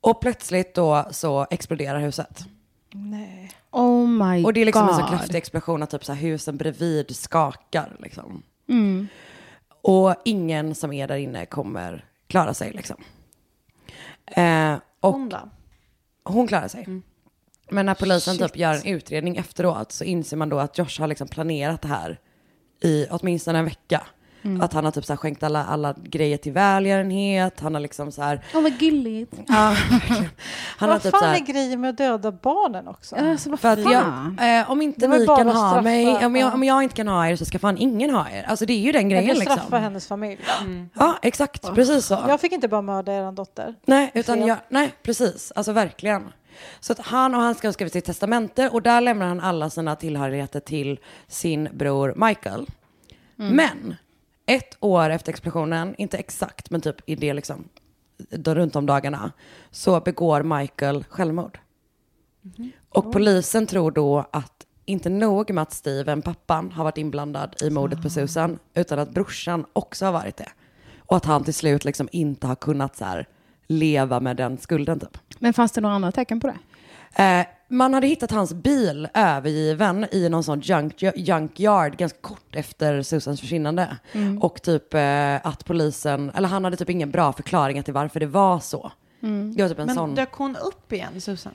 G: Och plötsligt då så exploderar huset.
D: Oh my god.
G: Och det är liksom en så kraftig explosion att typ så här husen bredvid skakar liksom.
D: Mm.
G: Och ingen som är där inne kommer klara sig liksom. Eh, och hon
F: då?
G: Hon klarar sig. Men när polisen
F: Shit.
G: typ gör en utredning efteråt så inser man då att Josh har liksom planerat det här i åtminstone en vecka.
D: Mm.
G: Att han har typ så här skänkt alla, alla grejer till välgörenhet, han har liksom så här...
D: Åh, vad gulligt.
G: Ja, han har
E: Vad
G: typ
E: fan
G: så här...
E: är grejen med att döda barnen också?
G: För att jag, eh, om
E: Det
G: inte
E: var ju
G: ni
E: bara
G: kan
E: att
G: ha
E: straffa-
G: mig, om jag,
E: ja.
G: om jag inte kan ha er så ska fan ingen ha er. Alltså det är ju den grejen
E: Eller
G: liksom.
E: straffa hennes familj.
G: Ja, exakt. Precis så.
E: Jag fick inte bara mörda er dotter.
G: Nej, utan
E: Fel.
G: jag, nej, precis. Alltså verkligen. Så att han och han ska ha skrivit sitt testamente och där lämnar han alla sina tillhörigheter till sin bror Michael.
D: Mm.
G: Men ett år efter explosionen, inte exakt men typ i det liksom, då runt om dagarna, så begår Michael självmord. Och polisen tror då att inte nog med att Steven, pappan, har varit inblandad i mordet på Susan, utan att brorsan också har varit det. Och att han till slut liksom inte har kunnat så här, leva med den skulden typ.
D: Men fanns det några andra tecken på det?
G: Eh, man hade hittat hans bil övergiven i någon sån junk, junkyard ganska kort efter Susans försvinnande.
D: Mm.
G: Och typ eh, att polisen, eller han hade typ ingen bra förklaringar till varför det var så. Det var typ en
F: Men
G: sån...
F: dök hon upp igen, Susan?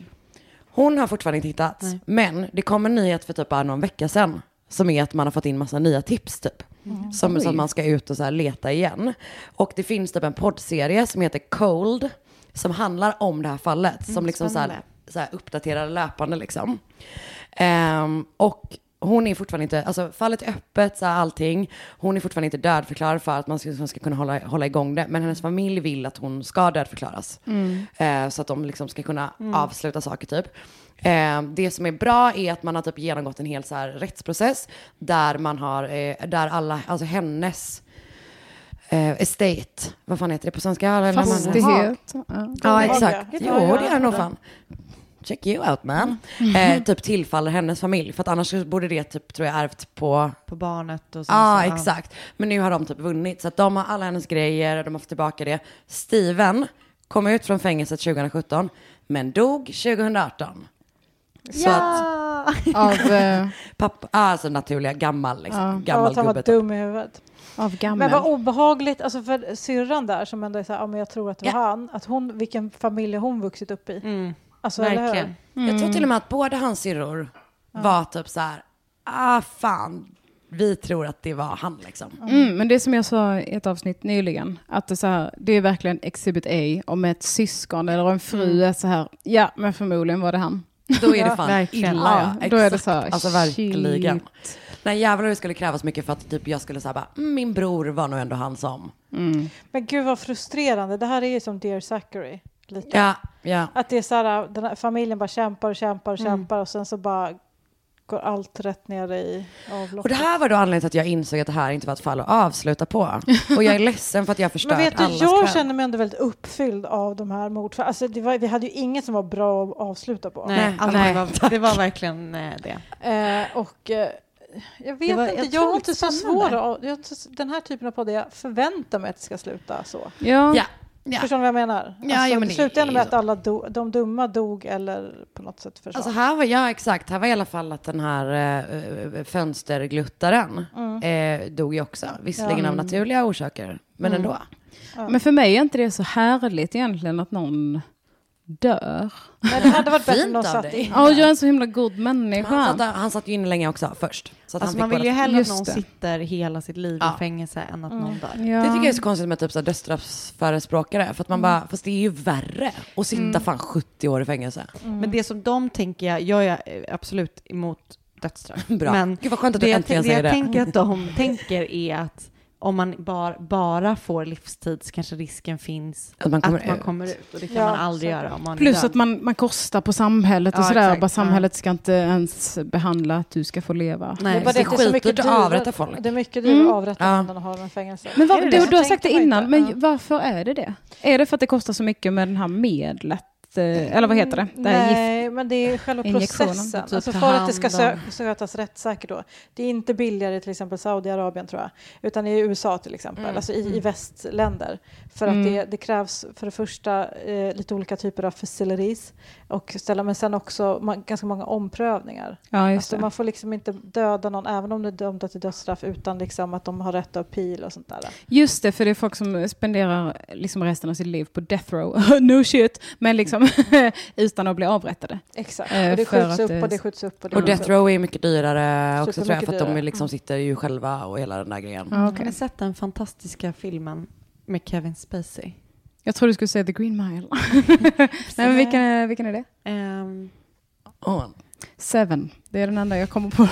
G: Hon har fortfarande inte hittats.
F: Nej.
G: Men det kom en nyhet för typ bara någon vecka sedan. Som är att man har fått in massa nya tips typ.
F: Mm.
G: Som, som
F: Oj.
G: man ska ut och så här leta igen. Och det finns typ en poddserie som heter Cold. Som handlar om det här fallet. Som
F: Mm,
G: liksom så här,
F: spännande.
G: så här uppdaterar löpande liksom. Ehm, och hon är fortfarande inte, alltså fallet är öppet, så här, allting. Hon är fortfarande inte dödförklarad för att man ska, ska kunna hålla, hålla igång det. Men hennes familj vill att hon ska dödförklaras.
F: Mm.
G: Eh, så att de liksom ska kunna
F: Mm.
G: avsluta saker typ. Eh, det som är bra är att man har typ genomgått en hel så här rättsprocess där man har, eh, där alla, alltså hennes eh, estate, vad fan heter det på svenska? Eller när man-
D: Fastighet.
G: Ja, exakt. Jo, det är nog fan. Check you out man. Eh, typ tillfaller hennes familj. För att annars så borde det typ, tror jag, ärvt på...
F: På barnet och så.
G: Ja,
F: så, ja.
G: exakt. Men nu har de typ vunnit. Så att de har alla hennes grejer, de har fått tillbaka det. Steven kom ut från fängelset 2017, men dog 2018. Så
F: Ah,
G: att...
D: Av, eh,
G: Pappa, alltså naturliga, gammal liksom.
E: Av
G: Gammal
E: att han var
G: gubbe. typ.
E: dum i huvudet.
D: Av gammel.
E: Men vad obehagligt, alltså för syrran där som ändå är så här, ja men jag tror att det var han, att hon, vilken familj hon vuxit upp i. Alltså, eller hur?
G: Mm. Verkligen. Jag tror till och med att båda hans syrror var typ så här, ah fan, vi tror att det var han liksom.
D: Mm, men det som jag sa i ett avsnitt nyligen, att det, är så här, det är verkligen exhibit A om ett syskon eller en fru är så här, ja men förmodligen var det han.
G: Då är det fan illa ja.
D: Då är det
G: Exakt.
D: så här,
G: Alltså verkligen. Nej jävlar det skulle krävas mycket för att typ jag skulle säga bara, "Mm, min bror var nog ändå han som.
E: Men gud vad frustrerande, det här är ju som Dear Zachary. Lite.
G: Ja, ja.
E: Att det är så här, den här familjen bara kämpar och kämpar och
G: Mm.
E: kämpar och sen så bara går allt rätt ner i avloppet.
G: Och det här var då anledningen till att jag insåg att det här inte var ett fall att avsluta på. Och jag är ledsen för att jag har förstört
E: Men vet du,
G: allas
E: jag
G: kväll.
E: känner mig ändå väldigt uppfylld av de här mordfallen. Alltså, det var, vi hade ju inget som var bra att avsluta på.
F: Nej, alltså, Det, var, det var verkligen eh, det.
E: Eh, och eh, jag vet
F: Det var
E: inte, jag har
F: otroligt
E: inte så
F: spännande.
E: svårt att... Jag, har inte så- den här typen av podd, jag förväntar mig att det ska sluta så.
D: Ja. Ja,
G: ja.
E: Förstår ni vad jag menar?
G: Ja,
E: alltså,
G: ja, men
E: det
G: det
E: slutade ändå
G: är
E: med
G: ju
E: att alla do, de dumma dog eller på något sätt försvann.
G: Alltså här var, ja exakt, här var i alla fall att den här eh, fönstergluttaren eh, dog ju också. Visserligen
D: Ja.
G: av naturliga orsaker, men
D: Mm.
G: ändå.
D: Men för mig är inte det så härligt egentligen att någon dör.
E: Nej, det hade varit bättre om
G: Fint
E: de
G: av
E: satt
G: dig.
E: in.
D: Ja, jag är en så himla god människa.
G: Han satt, han satt ju inne länge också först. Så att
F: Alltså,
G: han
F: man
G: fick
F: vill ju
G: båda-
F: hellre att
G: Just
F: någon
G: det.
F: sitter hela sitt liv
G: Ja. Mm.
F: i fängelse än att någon dör.
G: Det tycker jag är så konstigt med typ så här dödsstraffsförespråkare. För att man bara, fast det är ju värre att sitta
F: Mm.
G: fan 70 år i fängelse.
E: Mm.
F: Men det som de tänker, jag, jag är eh, absolut emot dödsstraff.
G: Bra.
F: Men
G: Gud, vad skönt att
F: det
G: du
F: jag
G: äntligen
F: tänk-
G: säger
F: det.
G: det.
F: jag tänker att de tänker är att om man bara, bara får livstid så kanske risken finns
G: att man kommer,
D: ut.
F: ut. Och det kan
D: Ja,
F: man aldrig
D: säkert.
F: göra om man är
D: Plus
F: död.
D: att man, man kostar på samhället och
F: Ja,
D: sådär.
F: exakt.
D: Bara samhället ska inte ens behandla att du ska få leva.
E: Det är bara det att det är så mycket dyrare- Det är mycket dyrare att avrätta någon än att ha dem i fängelse.
D: Men var,
E: Är det
D: du,
E: det?
D: du har
E: Jag
D: sagt det
E: tänkte på
D: innan,
E: inte.
D: men varför är det det? Är det för att det kostar så mycket med den här medlet? eh, Eller vad heter det? det här gift-
E: Mm, Nej, men det är själva
D: injektionen.
E: processen.
D: Typ
E: alltså
D: ta
E: för att det ska
D: hand om-
E: sö- skötas rättssäkert då. Det är inte billigare i till exempel Saudiarabien tror jag, utan i USA till exempel,
D: Mm.
E: alltså i, i
D: Mm.
E: västländer. För att
D: Mm.
E: det, det krävs för det första eh, lite olika typer av facilities, och ställa, men sen också man, ganska många omprövningar.
D: Ja, just
E: Alltså,
D: det.
E: man får liksom inte döda någon, även om de är dömda till dödsstraff, utan liksom att de har rätt av pil och sånt där.
D: Eh, Just det, för det är folk som spenderar liksom resten av sitt liv på death row. no shit, men liksom utan att bli avrättade.
E: Exakt.
D: Eh,
E: Och det
D: för
E: skjuts
D: att,
E: upp
D: eh,
E: och det skjuts upp. Och, det
G: Och
E: skjuts
G: Death
E: upp.
G: Row är mycket dyrare också tror jag,
E: Supermycket
G: för att de
E: dyrare.
G: är liksom sitter ju själva och hela den där grejen.
D: Ja,
L: Har
D: okej.
L: ni sett den fantastiska filmen med Kevin Spacey?
D: Jag tror du skulle säga The Green Mile. Nej, men vilken, är- vilken är det?
L: Ehm,
D: Seven. Det är den enda jag kommer på.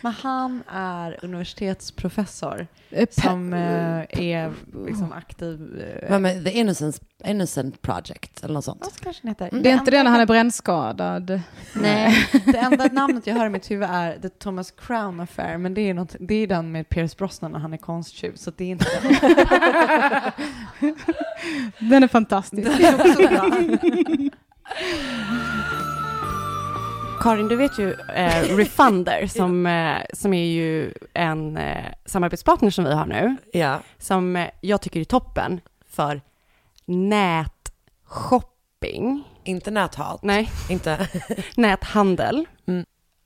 L: men han är universitetsprofessor
D: Eh, pe-
L: som eh, är liksom aktiv. eh,
G: Vad med The Innocent, Innocent Project eller något sånt.
L: Vad kanske den heter?
D: Det är inte
L: enda-
D: det när han är brännskadad?
L: Nej, det enda namnet jag hör i mitt huvud är The Thomas Crown Affair, men det är, något, det är den med Pierce Brosnan när han är konsttjuv, så det är inte den.
D: Den är fantastisk.
L: Den är också bra.
F: Karin, du vet ju eh, Refunder som, eh, som är ju en eh, samarbetspartner som vi har nu.
G: Ja.
F: Som eh, jag tycker är toppen för nätshopping.
G: Inte näthat.
F: Nej.
G: Inte.
F: Näthandel.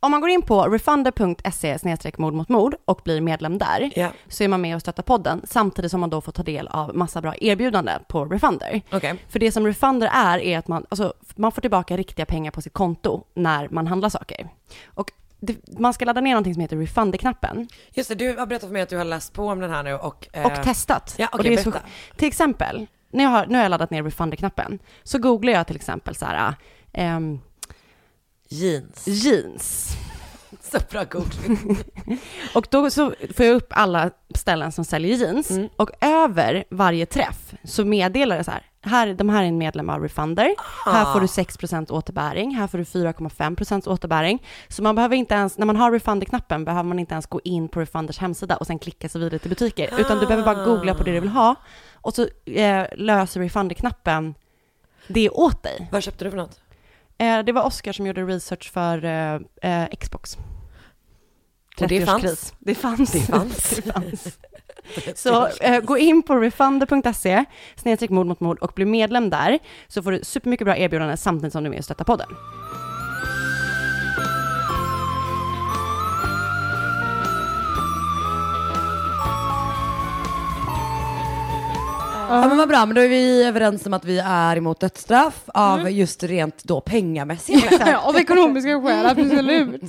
F: Om man går in på refunder.se mord mot mord och blir medlem där
G: Ja.
F: så är man med och stöttar podden samtidigt som man då får ta del av massa bra erbjudanden på Refunder.
G: Okej.
F: För det som Refunder är, är att man, alltså, man får tillbaka riktiga pengar på sitt konto när man handlar saker. Och det, man ska ladda ner någonting som heter Refunder-knappen
G: Just det, du har berättat för mig att du har läst på om den här nu och... eh,
F: och testat.
G: Ja,
F: och
G: okej,
F: det är så,
G: berätta.
F: till exempel, när jag har, nu har jag laddat ner Refunder-knappen, så googlar jag till exempel så här, ehm,
G: Jeans.
F: jeans.
G: Så bra coachning.
F: Och då så får jag upp alla ställen som säljer jeans
G: Mm.
F: och över varje träff så meddelar det så här, här de här är en medlem av Refunder, här får du 6% återbäring, här får du 4,5% återbäring. Så man behöver inte ens, när man har Refunder-knappen behöver man inte ens gå in på Refunders hemsida och sen klicka sig vidare till butiker, utan du behöver bara googla på det du vill ha och så eh, löser Refunder-knappen det åt dig.
G: Vad köpte du för något?
F: Eh, det var Oscar som gjorde research för eh, eh, Xbox.
G: Och det
F: 30-årskris.
G: fanns?
F: Det fanns.
G: Det fanns.
F: Det fanns. Så eh, gå in på refunder.se, snedstreck mord mot mord och bli medlem där, så får du supermycket bra erbjudanden samtidigt som du är med och stöttar podden.
G: Ja men vad bra, men då är vi överens om att vi är emot dödsstraff av just rent då pengamässigt.
D: Av ekonomiska skäl, absolut.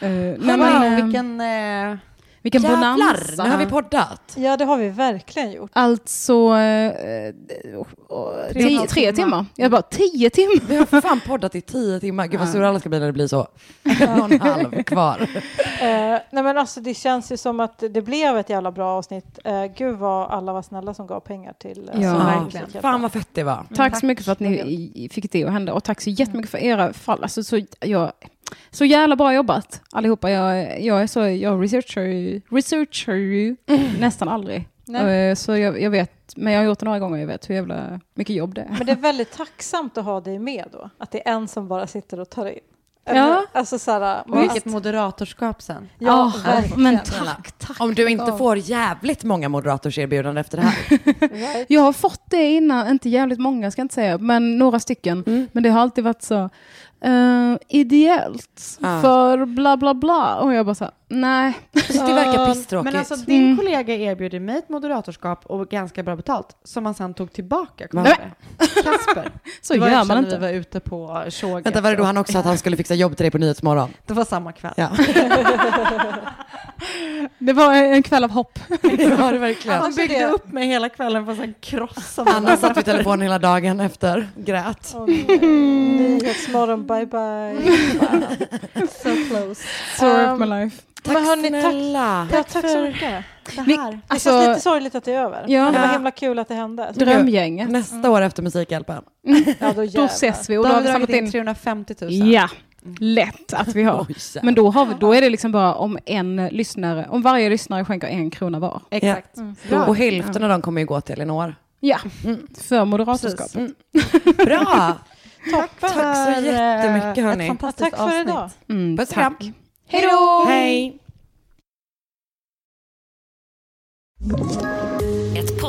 D: Eh,
G: nej, men, eh,
L: vilken... Eh,
D: ehm, vilken
G: Jävlar,
D: bonanza.
G: nu har vi poddat.
E: Ja, det har vi verkligen gjort.
D: Alltså, eh,
G: Tre och en
D: tre,
G: halv
D: tre
G: timme.
D: timmar. Jag bara, tio timmar?
G: Vi har för fan poddat i tio timmar. Gud vad
D: Ja.
G: sura alla ska bli när det blir så. En och en halv kvar.
E: Eh, nej men alltså det känns ju som att det blev ett jävla bra avsnitt. Eh, gud vad alla var snälla som gav pengar till. eh,
D: Ja.
E: som
D: Verkligen.
E: fick hjälp.
G: Fan vad fett det var.
D: Tack så mycket för att ni i- fick det att hända och tack så jättemycket för era fall. Alltså, så, jag, så jävla bra jobbat allihopa. Jag, jag, är så, jag researchar ju, researchar ju nästan aldrig.
E: Nej.
D: Eh, Så jag, jag vet, men jag har gjort det några gånger och jag vet hur jävla mycket jobb det är.
E: Men det är väldigt tacksamt att ha dig med då. Att det är en som bara sitter och tar in.
D: Ja.
E: Alltså såhär.
L: och vilket moderatorskap sen.
E: Ja,
G: Ah,
E: verkligen.
G: men tack, tack. Om du inte
D: Ja.
G: får jävligt många moderatorserbjudanden efter det här.
D: Jag har fått det innan, inte jävligt många ska jag inte säga, men några stycken. Men det har alltid varit så eh, ideellt
G: Ja.
D: för bla bla bla. Och jag bara så här, nej.
G: Det verkar pisstråkigt.
L: Men alltså din
D: Mm.
L: kollega erbjuder mig ett moderatorskap och ganska bra betalt som han sen tog tillbaka. kommer
D: Nej.
L: jag ihåg. Kasper.
D: Så
L: Det var
D: gör
L: eftersom
D: man
L: vi
D: inte.
L: var ute på tjoget.
G: Vänta, var det då han också att han skulle fixa jobb till dig på Nyhetsmorgon?
L: Det var samma kväll.
G: Ja.
D: Det var en kväll av hopp.
G: Det var det verkligen.
L: Han byggde upp mig hela kvällen för att sen krossa mig.
G: Anna satt vid telefonen hela dagen efter, grät.
E: Åh, nej. Nyhetsmorgon, bye bye. so close.
D: Story of my life.
E: Tack men hörni,
G: snälla.
E: Tack, ja, tack så
L: för
E: mycket.
L: det
D: Vi-
L: här.
E: Det
D: Alltså-
E: känns lite sorgligt att det är över.
D: Ja.
E: Men det var himla kul att det hände.
D: Drömgänget.
G: Nästa år efter Musikhjälpen.
E: Ja, då,
D: Då
E: jävlar.
D: ses vi
L: Då
D: och
L: har
D: då har
L: vi
D: vi samlat
L: dragit in
D: in
L: 350 000.
D: Ja, lätt att vi har.
G: Oj, jävlar.
D: Men då, har vi, då är det liksom bara om en lyssnare, om varje lyssnare skänker en krona var.
G: Eh,
L: Exakt. Mm. Bra.
G: Och hälften av dem kommer ju gå till Elinor.
D: Ja, för moderatorskap.
G: Mm. Bra!
E: Toppen.
G: Tack så jättemycket
L: eh, Ett
G: hörni.
L: fantastiskt
E: Tack för
L: avsnitt.
E: idag.
D: Mm,
G: Puss och kram.
D: tack. Hej då!
G: Hej!
C: Ett